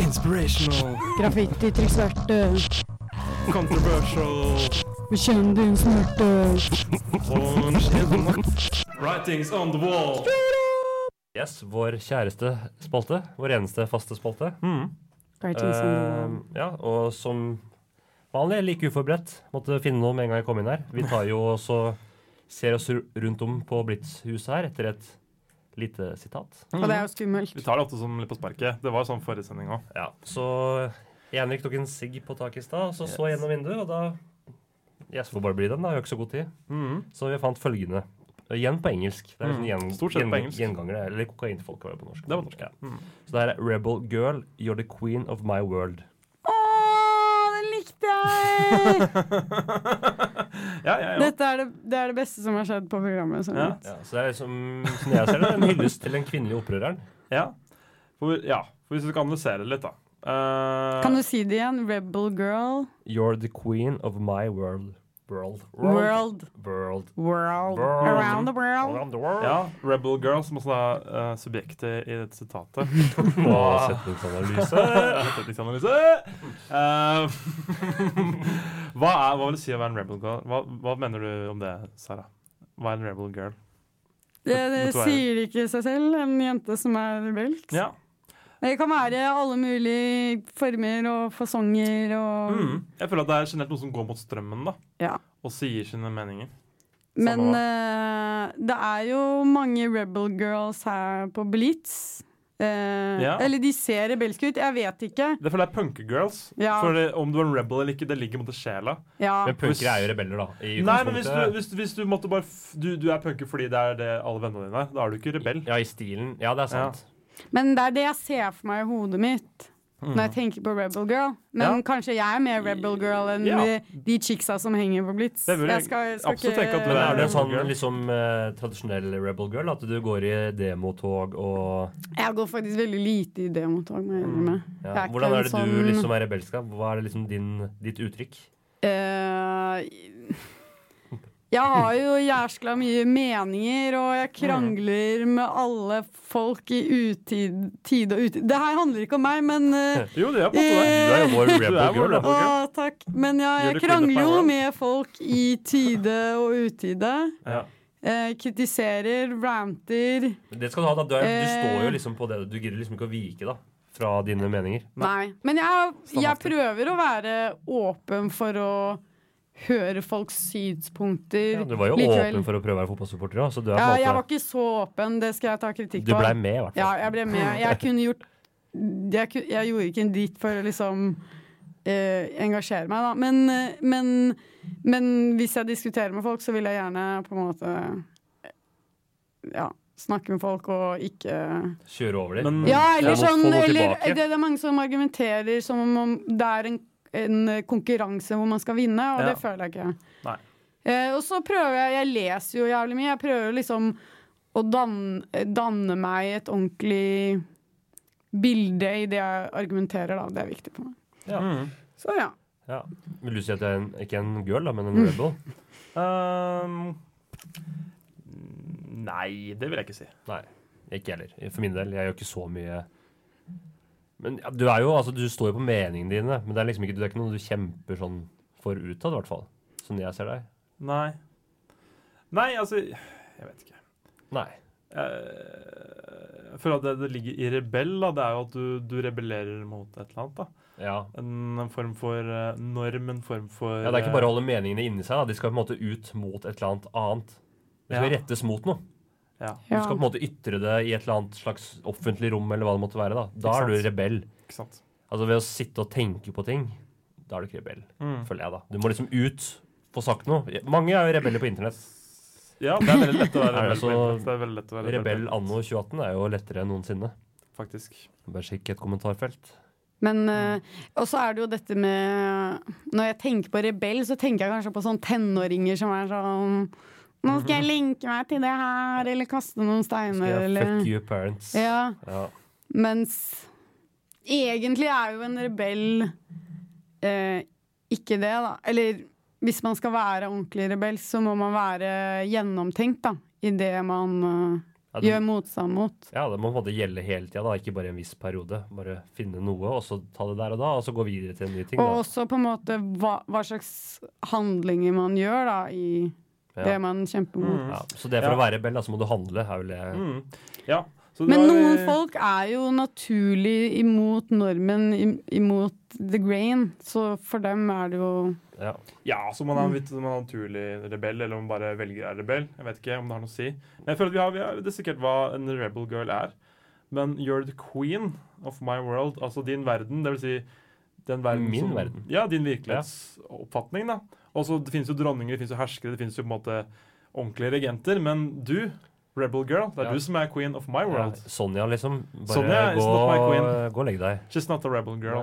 [SPEAKER 4] Inspirational,
[SPEAKER 3] Graffiti til svarte,
[SPEAKER 4] controversial
[SPEAKER 3] bekjenn din smerte.
[SPEAKER 4] Writings on the wall.
[SPEAKER 2] Yes, vår kjæreste spalte. Vår eneste faste spalte.
[SPEAKER 4] Mm,
[SPEAKER 3] Uh,
[SPEAKER 2] Eh, ja, og som vanlig like uforberedt. Måtte finne noe med en gang jeg kom inn her. Vi tar jo også ser oss ru- rundt om på Blitz-huset her etter et lite sitat.
[SPEAKER 3] og det er jo skummelt.
[SPEAKER 4] Vi tar det ofte som litt på sparket. Det var sånn forrige sending òg.
[SPEAKER 2] Ja, så Henrik tok en sigg på taket i stad, og så
[SPEAKER 4] Mm-hmm.
[SPEAKER 2] så jeg gjennom vinduet, og da Jeg får bare bli den, da. Jeg har jo ikke så god tid. Så vi fant følgende. Det er igjen på engelsk. Det er
[SPEAKER 4] Mm.
[SPEAKER 2] sånn gjen,
[SPEAKER 4] Stort sett på
[SPEAKER 2] gjen,
[SPEAKER 4] engelsk.
[SPEAKER 2] Gjengangere, eller kokainfolk var det på norsk.
[SPEAKER 4] Det var norsk, ja. Mm.
[SPEAKER 2] Så det er Rebel Girl, You're the Queen of My World.
[SPEAKER 3] Å, den likte jeg!
[SPEAKER 4] ja, ja, ja.
[SPEAKER 3] Dette er det, det er det beste som har skjedd på programmet. Sånn.
[SPEAKER 4] Ja.
[SPEAKER 2] Ja, så det er liksom, som jeg ser det, en hyllest til den kvinnelige opprøreren.
[SPEAKER 4] ja. For, ja. For hvis vi skal analysere det litt, da. Eh,
[SPEAKER 3] Kan du si det igjen? Rebel girl.
[SPEAKER 2] You're the queen of my world. World.
[SPEAKER 3] World.
[SPEAKER 2] World. World.
[SPEAKER 3] World. Around the world.
[SPEAKER 2] Around the world.
[SPEAKER 4] ja, Rebel Girl, som også er eh, subjektet i dette sitatet.
[SPEAKER 2] Og setningsanalyse.
[SPEAKER 4] Setningsanalyse! Eh, hva, er, hva vil du si å være en rebel girl? Hva, hva mener du om det, Sara? Hva er en rebel girl?
[SPEAKER 3] Det, det
[SPEAKER 4] Vet du hva jeg-
[SPEAKER 3] sier ikke seg selv, en jente som er rebelsk.
[SPEAKER 4] Ja.
[SPEAKER 3] Det kan være alle mulige former og fasonger og
[SPEAKER 4] Mm. Jeg føler at det er generelt noe som går mot strømmen, da.
[SPEAKER 3] Ja.
[SPEAKER 4] Og sier sine meninger.
[SPEAKER 3] Men
[SPEAKER 4] Samme
[SPEAKER 3] eh, det er jo mange rebel girls her på Blitz. Eh,
[SPEAKER 4] Ja.
[SPEAKER 3] Eller de ser rebelske ut, jeg vet ikke.
[SPEAKER 4] Det føler jeg er punkegirls.
[SPEAKER 3] Ja.
[SPEAKER 4] For det, om du er en rebel eller ikke, det ligger mot sjela.
[SPEAKER 3] Ja.
[SPEAKER 2] Men punkere er jo rebeller, da. I
[SPEAKER 4] Nei, men hvis du,
[SPEAKER 2] utgangspunktet.
[SPEAKER 4] hvis, hvis du måtte bare f- du, du er punker fordi det er det alle vennene dine er, da er du ikke rebell.
[SPEAKER 2] Ja, i stilen. Ja, det er sant.
[SPEAKER 3] Men det er det jeg ser for meg i hodet mitt når jeg tenker på Rebel Girl. Men
[SPEAKER 4] Mm. Ja.
[SPEAKER 3] kanskje jeg er mer Rebel Girl enn
[SPEAKER 4] Ja.
[SPEAKER 3] de, de chicksa som henger på Blitz.
[SPEAKER 4] Det vil jeg absolutt tenke at du
[SPEAKER 2] Men
[SPEAKER 4] Ja,
[SPEAKER 2] er du
[SPEAKER 4] rebel
[SPEAKER 2] en sånn
[SPEAKER 4] girl.
[SPEAKER 2] liksom eh, tradisjonell rebel girl? At du går i demotog og
[SPEAKER 3] Jeg går faktisk veldig lite i demotog, må jeg
[SPEAKER 4] Mm.
[SPEAKER 3] innrømme. Jeg
[SPEAKER 2] ja.
[SPEAKER 3] er ikke
[SPEAKER 2] Hvordan er det
[SPEAKER 3] en
[SPEAKER 2] du
[SPEAKER 3] sånn-
[SPEAKER 2] liksom er rebelsk av? Hva er det liksom din, ditt uttrykk?
[SPEAKER 3] Eh, jeg har jo jæskla mye meninger, og jeg
[SPEAKER 4] Mm.
[SPEAKER 3] krangler med alle folk i utid tid og utid. Det her handler ikke om meg, men eh,
[SPEAKER 4] Jo, det er på en måte
[SPEAKER 2] Du
[SPEAKER 4] det.
[SPEAKER 2] er jo vår
[SPEAKER 4] Du
[SPEAKER 2] rebel girl,
[SPEAKER 4] er vår
[SPEAKER 2] da.
[SPEAKER 4] rebel girl.
[SPEAKER 3] Å, takk. Men jeg,
[SPEAKER 4] Gjør
[SPEAKER 3] jeg
[SPEAKER 4] det queen of my
[SPEAKER 3] krangler jo
[SPEAKER 4] world.
[SPEAKER 3] med folk i tide og utide.
[SPEAKER 4] Ja.
[SPEAKER 3] Eh, kritiserer, ranter.
[SPEAKER 2] Men Det skal du ha, da. Du, er, du
[SPEAKER 3] Eh.
[SPEAKER 2] står jo liksom på det. Du gidder liksom ikke å vike da fra dine meninger.
[SPEAKER 3] Nei. Men jeg, jeg
[SPEAKER 4] Standhaftig.
[SPEAKER 3] prøver å være åpen for å høre folks synspunkter.
[SPEAKER 2] Ja, du var jo
[SPEAKER 3] likevel.
[SPEAKER 2] åpen for å prøve å være fotballsupporter òg, så du er på
[SPEAKER 3] ja,
[SPEAKER 2] en
[SPEAKER 3] Jeg var
[SPEAKER 2] måte
[SPEAKER 3] ikke så åpen, det skal jeg ta kritikk
[SPEAKER 2] Du
[SPEAKER 3] for.
[SPEAKER 2] blei med, i hvert fall.
[SPEAKER 3] Ja, jeg ble med. Jeg kunne gjort jeg, ku- jeg gjorde ikke en dritt for å liksom eh, engasjere meg, da. Men, eh, men, men hvis jeg diskuterer med folk, så vil jeg gjerne på en måte eh, Ja, snakke med folk og ikke
[SPEAKER 2] Kjøre over dem.
[SPEAKER 4] Men-
[SPEAKER 3] Ja, eller
[SPEAKER 2] Ja, Mm. få-
[SPEAKER 3] sånn
[SPEAKER 2] få gå
[SPEAKER 3] eller,
[SPEAKER 2] tilbake.
[SPEAKER 3] det, det er mange som argumenterer som om det er en, en konkurranse hvor man skal vinne, og
[SPEAKER 4] Ja.
[SPEAKER 3] det føler jeg ikke.
[SPEAKER 4] Nei.
[SPEAKER 3] Eh, og så prøver jeg Jeg leser jo jævlig mye. Jeg prøver liksom å danne, danne meg et ordentlig bilde i det jeg argumenterer, da. Det er viktig for meg.
[SPEAKER 4] Mm.
[SPEAKER 3] Så ja.
[SPEAKER 2] Ja. Vil du si at jeg er en, ikke en girl, da,
[SPEAKER 3] Mm.
[SPEAKER 2] men en rebel?
[SPEAKER 4] Ehm, nei, det vil jeg ikke si.
[SPEAKER 2] Nei, ikke heller. For min del, jeg gjør ikke så mye Men ja, du er jo, altså, du står jo på meningene dine, men det er liksom ikke, det er ikke noe du kjemper sånn for utad, i hvert fall. Sånn jeg ser deg.
[SPEAKER 4] Nei. Nei, altså Jeg vet ikke.
[SPEAKER 2] Nei.
[SPEAKER 4] Eh, Jeg føler at det, det ligger i rebell, da, det er jo at du, du rebellerer mot et eller annet. da.
[SPEAKER 2] Ja.
[SPEAKER 4] En, en form for eh, norm, en form for eh,
[SPEAKER 2] ja. Det er ikke bare å holde meningene inni seg, da. De skal på en måte ut mot et eller annet annet. De skal
[SPEAKER 4] Ja.
[SPEAKER 2] rettes mot noe.
[SPEAKER 4] Ja,
[SPEAKER 2] Du
[SPEAKER 3] ja.
[SPEAKER 2] skal på en måte ytre det i et eller annet slags offentlig rom, eller hva det måtte være. Da Da
[SPEAKER 4] Ikke
[SPEAKER 2] er du
[SPEAKER 4] sant.
[SPEAKER 2] rebell.
[SPEAKER 4] ikke sant.
[SPEAKER 2] Altså ved å sitte og tenke på ting, da er du ikke rebell,
[SPEAKER 4] Mm.
[SPEAKER 2] føler jeg, da. Du må liksom ut, få sagt noe. Mange er jo rebeller på internett.
[SPEAKER 4] Ja, det er veldig lett å være
[SPEAKER 2] Er det
[SPEAKER 4] rebell. på
[SPEAKER 2] så-
[SPEAKER 4] internett. Det er veldig lett å være
[SPEAKER 2] Rebell anno 2018 er jo lettere enn noensinne.
[SPEAKER 4] faktisk.
[SPEAKER 2] Bare sjekk et kommentarfelt.
[SPEAKER 3] Men eh, Og så er det jo dette med Når jeg tenker på rebell, så tenker jeg kanskje på sånn tenåringer som er sånn Nå skal jeg lenke meg til det her, eller kaste noen
[SPEAKER 2] Mhm. Skal
[SPEAKER 3] steiner,
[SPEAKER 2] jeg
[SPEAKER 3] eller
[SPEAKER 2] fuck you parents.
[SPEAKER 3] Ja,
[SPEAKER 2] Ja.
[SPEAKER 3] mens egentlig er jo en rebell eh, ikke det, da. Eller hvis man skal være ordentlig rebell, så må man være gjennomtenkt, da. I det man
[SPEAKER 2] Ja,
[SPEAKER 3] eh,
[SPEAKER 2] det,
[SPEAKER 3] gjør motstand mot.
[SPEAKER 2] ja, det må på en måte gjelde hele tida, da. Ikke bare i en viss periode. Bare finne noe, og så ta det der og da, og så gå videre til en ny ting.
[SPEAKER 3] Og
[SPEAKER 2] Da.
[SPEAKER 3] også på en måte hva, hva slags handlinger man gjør, da, i det
[SPEAKER 2] Ja. Mm.
[SPEAKER 3] man kjemper mot.
[SPEAKER 2] Ja, så det for
[SPEAKER 4] Ja.
[SPEAKER 2] å være rebell, da, så må du handle, er vel det
[SPEAKER 4] Mm. Ja. så det
[SPEAKER 3] Men
[SPEAKER 4] var-
[SPEAKER 3] noen folk er jo naturlig imot normen, im- imot the grain, så for dem er det jo
[SPEAKER 2] ja.
[SPEAKER 4] Ja, så man
[SPEAKER 2] Mm.
[SPEAKER 4] er, vet, om man er naturlig rebell, eller om man bare velger å være rebell. Jeg vet ikke om det har noe å si. Men jeg føler at vi har, vi har dissekert hva en rebel girl er. Men you're the queen of my world, altså din verden, det vil si den verden
[SPEAKER 2] Min
[SPEAKER 4] som,
[SPEAKER 2] verden.
[SPEAKER 4] Ja, din virkelighetsoppfatning, da. Og så det finnes jo dronninger, det finnes jo herskere, det finnes jo på en måte ordentlige regenter, men du, Rebel Girl, det er
[SPEAKER 2] Ja.
[SPEAKER 4] du som er queen of my
[SPEAKER 2] Ja,
[SPEAKER 4] world.
[SPEAKER 2] Sonja, liksom. Bare
[SPEAKER 4] Sonja is
[SPEAKER 2] gå,
[SPEAKER 4] not my queen.
[SPEAKER 2] gå og legg deg.
[SPEAKER 4] She's not a rebel girl.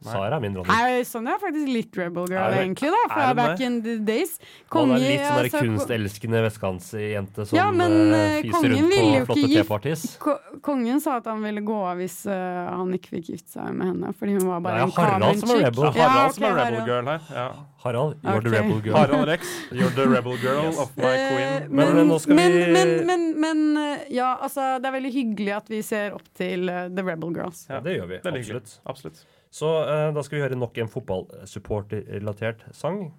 [SPEAKER 4] Nei.
[SPEAKER 2] Sara er min dronning.
[SPEAKER 3] Nei, sånn er jeg faktisk litt rebel girl,
[SPEAKER 2] Er det-
[SPEAKER 3] egentlig, da. Fra
[SPEAKER 4] er det
[SPEAKER 3] back
[SPEAKER 4] det?
[SPEAKER 3] in the days.
[SPEAKER 2] Konge,
[SPEAKER 3] Konge
[SPEAKER 2] er litt sånn der
[SPEAKER 3] altså, ko-
[SPEAKER 2] kunstelskende vestkantsjente som
[SPEAKER 3] Ja, men,
[SPEAKER 2] eh,
[SPEAKER 3] eh,
[SPEAKER 2] fiser
[SPEAKER 3] kongen
[SPEAKER 2] rundt på
[SPEAKER 3] ville jo
[SPEAKER 2] flotte
[SPEAKER 3] ikke gif-
[SPEAKER 2] T-parties.
[SPEAKER 3] ko- Kongen sa at han ville gå av hvis eh, han ikke fikk gifte seg med henne. Fordi hun var
[SPEAKER 2] Nei,
[SPEAKER 3] bare en
[SPEAKER 2] Harald som er
[SPEAKER 3] kavenchick.
[SPEAKER 2] rebel.
[SPEAKER 4] Det er Harald som
[SPEAKER 3] ok,
[SPEAKER 4] er rebel
[SPEAKER 3] Harald.
[SPEAKER 4] girl her. Ja.
[SPEAKER 2] Harald, you're the
[SPEAKER 3] Ok.
[SPEAKER 2] rebel girl.
[SPEAKER 4] Harald Rex, you're the rebel girl
[SPEAKER 2] Yes.
[SPEAKER 4] of my queen.
[SPEAKER 3] Eh,
[SPEAKER 2] Men
[SPEAKER 3] Men,
[SPEAKER 2] nå
[SPEAKER 3] men,
[SPEAKER 2] skal
[SPEAKER 3] men,
[SPEAKER 2] vi-
[SPEAKER 3] men, men, eh, ja, altså, det er veldig hyggelig at vi ser opp til eh, The Rebel Girls.
[SPEAKER 2] Ja, det gjør vi.
[SPEAKER 4] Veldig hyggelig.
[SPEAKER 2] Absolutt.
[SPEAKER 4] Absolutt.
[SPEAKER 2] Så eh, da skal vi høre nok en fotballsupporterrelatert sang.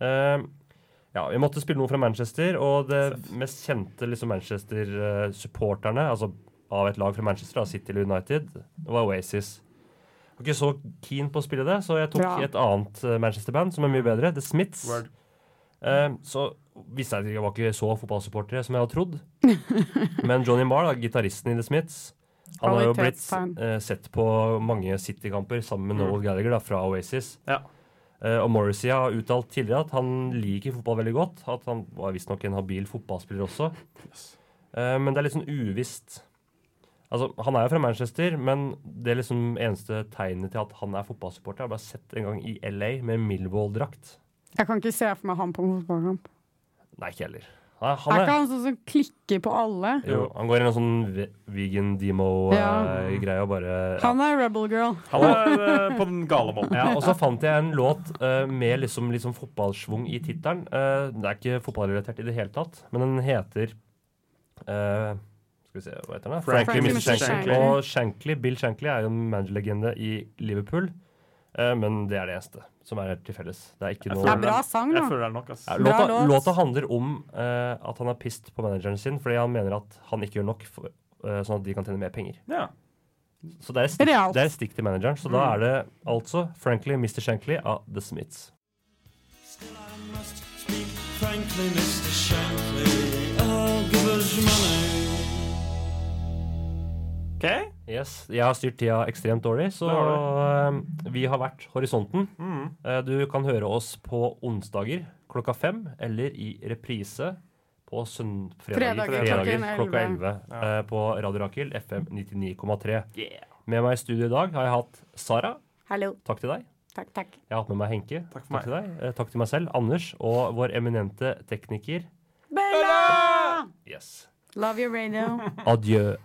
[SPEAKER 2] Eh, ja, vi måtte spille noe fra Manchester, og det mest kjente liksom, Manchester-supporterne altså av et lag fra Manchester, da, City eller United, det var Oasis. Jeg var ikke så keen på å spille det, så jeg tok
[SPEAKER 3] Bra.
[SPEAKER 2] et annet eh, Manchester-band som er mye bedre, The Smiths.
[SPEAKER 4] Word.
[SPEAKER 2] Eh, så visste jeg at jeg var ikke så fotballsupporter som jeg hadde trodd. Men Johnny Marr, da, gitaristen i The Smiths, han har jo blitt
[SPEAKER 3] Kvalitetsfan.
[SPEAKER 2] eh, sett på mange City-kamper sammen med
[SPEAKER 4] Mm.
[SPEAKER 2] Noel Gallagher da, fra Oasis.
[SPEAKER 4] Ja.
[SPEAKER 2] Eh, og Morrissey har uttalt tidligere at han liker fotball veldig godt. At han var visstnok en habil fotballspiller også. Eh, men det er litt sånn uvisst. Altså, Han er jo fra Manchester, men det er liksom eneste tegnet til at han er fotballsupporter, har jeg bare sett en gang i LA med Millwall-drakt.
[SPEAKER 3] Jeg kan ikke se for meg han på en fotballkamp.
[SPEAKER 2] Nei, ikke heller. Nei,
[SPEAKER 3] Er
[SPEAKER 2] han
[SPEAKER 3] ikke han sånn som klikker på alle?
[SPEAKER 2] Jo, han går i en sånn ve- vegan demo-greie
[SPEAKER 3] Ja.
[SPEAKER 2] og bare ja.
[SPEAKER 3] Han er rebel girl.
[SPEAKER 4] Han er eh, på den gale måten.
[SPEAKER 2] ja, Og så fant jeg en låt eh, med liksom, liksom fotballsvung i tittelen. Eh, det er ikke fotballrelatert i det hele tatt, men den heter eh, Skal vi se, hva heter den? da?
[SPEAKER 4] Frankly,
[SPEAKER 2] Frankly,
[SPEAKER 3] Mr.
[SPEAKER 2] Mr. Shankly.
[SPEAKER 3] Shankly.
[SPEAKER 2] Og Shankly, Bill Shankly er jo en managerlegende i Liverpool, eh, men det er det eneste som er til felles. Det er ikke
[SPEAKER 4] Jeg
[SPEAKER 2] noe
[SPEAKER 3] Det er bra sang,
[SPEAKER 4] Jeg
[SPEAKER 3] da.
[SPEAKER 4] føler det er nok, ass.
[SPEAKER 2] Ja,
[SPEAKER 4] Ja,
[SPEAKER 3] Bra
[SPEAKER 2] låta,
[SPEAKER 3] låt.
[SPEAKER 2] låta handler om eh, at han er pissed på manageren sin fordi han mener at han ikke gjør nok for, eh, sånn at de kan tjene mer penger. Så det er et stikk,
[SPEAKER 3] Realt.
[SPEAKER 2] det er et stikk til manageren. Så da er det altså Frankly Mr. Shankly av The Smiths.
[SPEAKER 7] Still I must speak frankly, Mr. Shankly. Oh, give us your money.
[SPEAKER 4] OK?
[SPEAKER 2] Yes, Jeg har styrt tida ekstremt dårlig, så
[SPEAKER 4] Det
[SPEAKER 2] eh, vi har vært Horisonten. Eh, du kan høre oss på onsdager klokka fem, eller i reprise på søn fredager,
[SPEAKER 3] Fredager klokken
[SPEAKER 2] klokka
[SPEAKER 3] 11.
[SPEAKER 2] elleve
[SPEAKER 4] Ja.
[SPEAKER 2] eh, på Radio Rakel FM 99,3. Med meg i studio i dag har jeg hatt Sara.
[SPEAKER 3] Hallo.
[SPEAKER 2] Takk til deg.
[SPEAKER 3] Takk, takk.
[SPEAKER 2] Jeg har hatt med meg Henke.
[SPEAKER 4] Takk for meg.
[SPEAKER 2] til deg. Eh, Takk til meg selv, Anders, og vår eminente tekniker.
[SPEAKER 3] Bella!
[SPEAKER 2] Yes.
[SPEAKER 3] Love your radio.
[SPEAKER 4] Mm.
[SPEAKER 2] Adjø.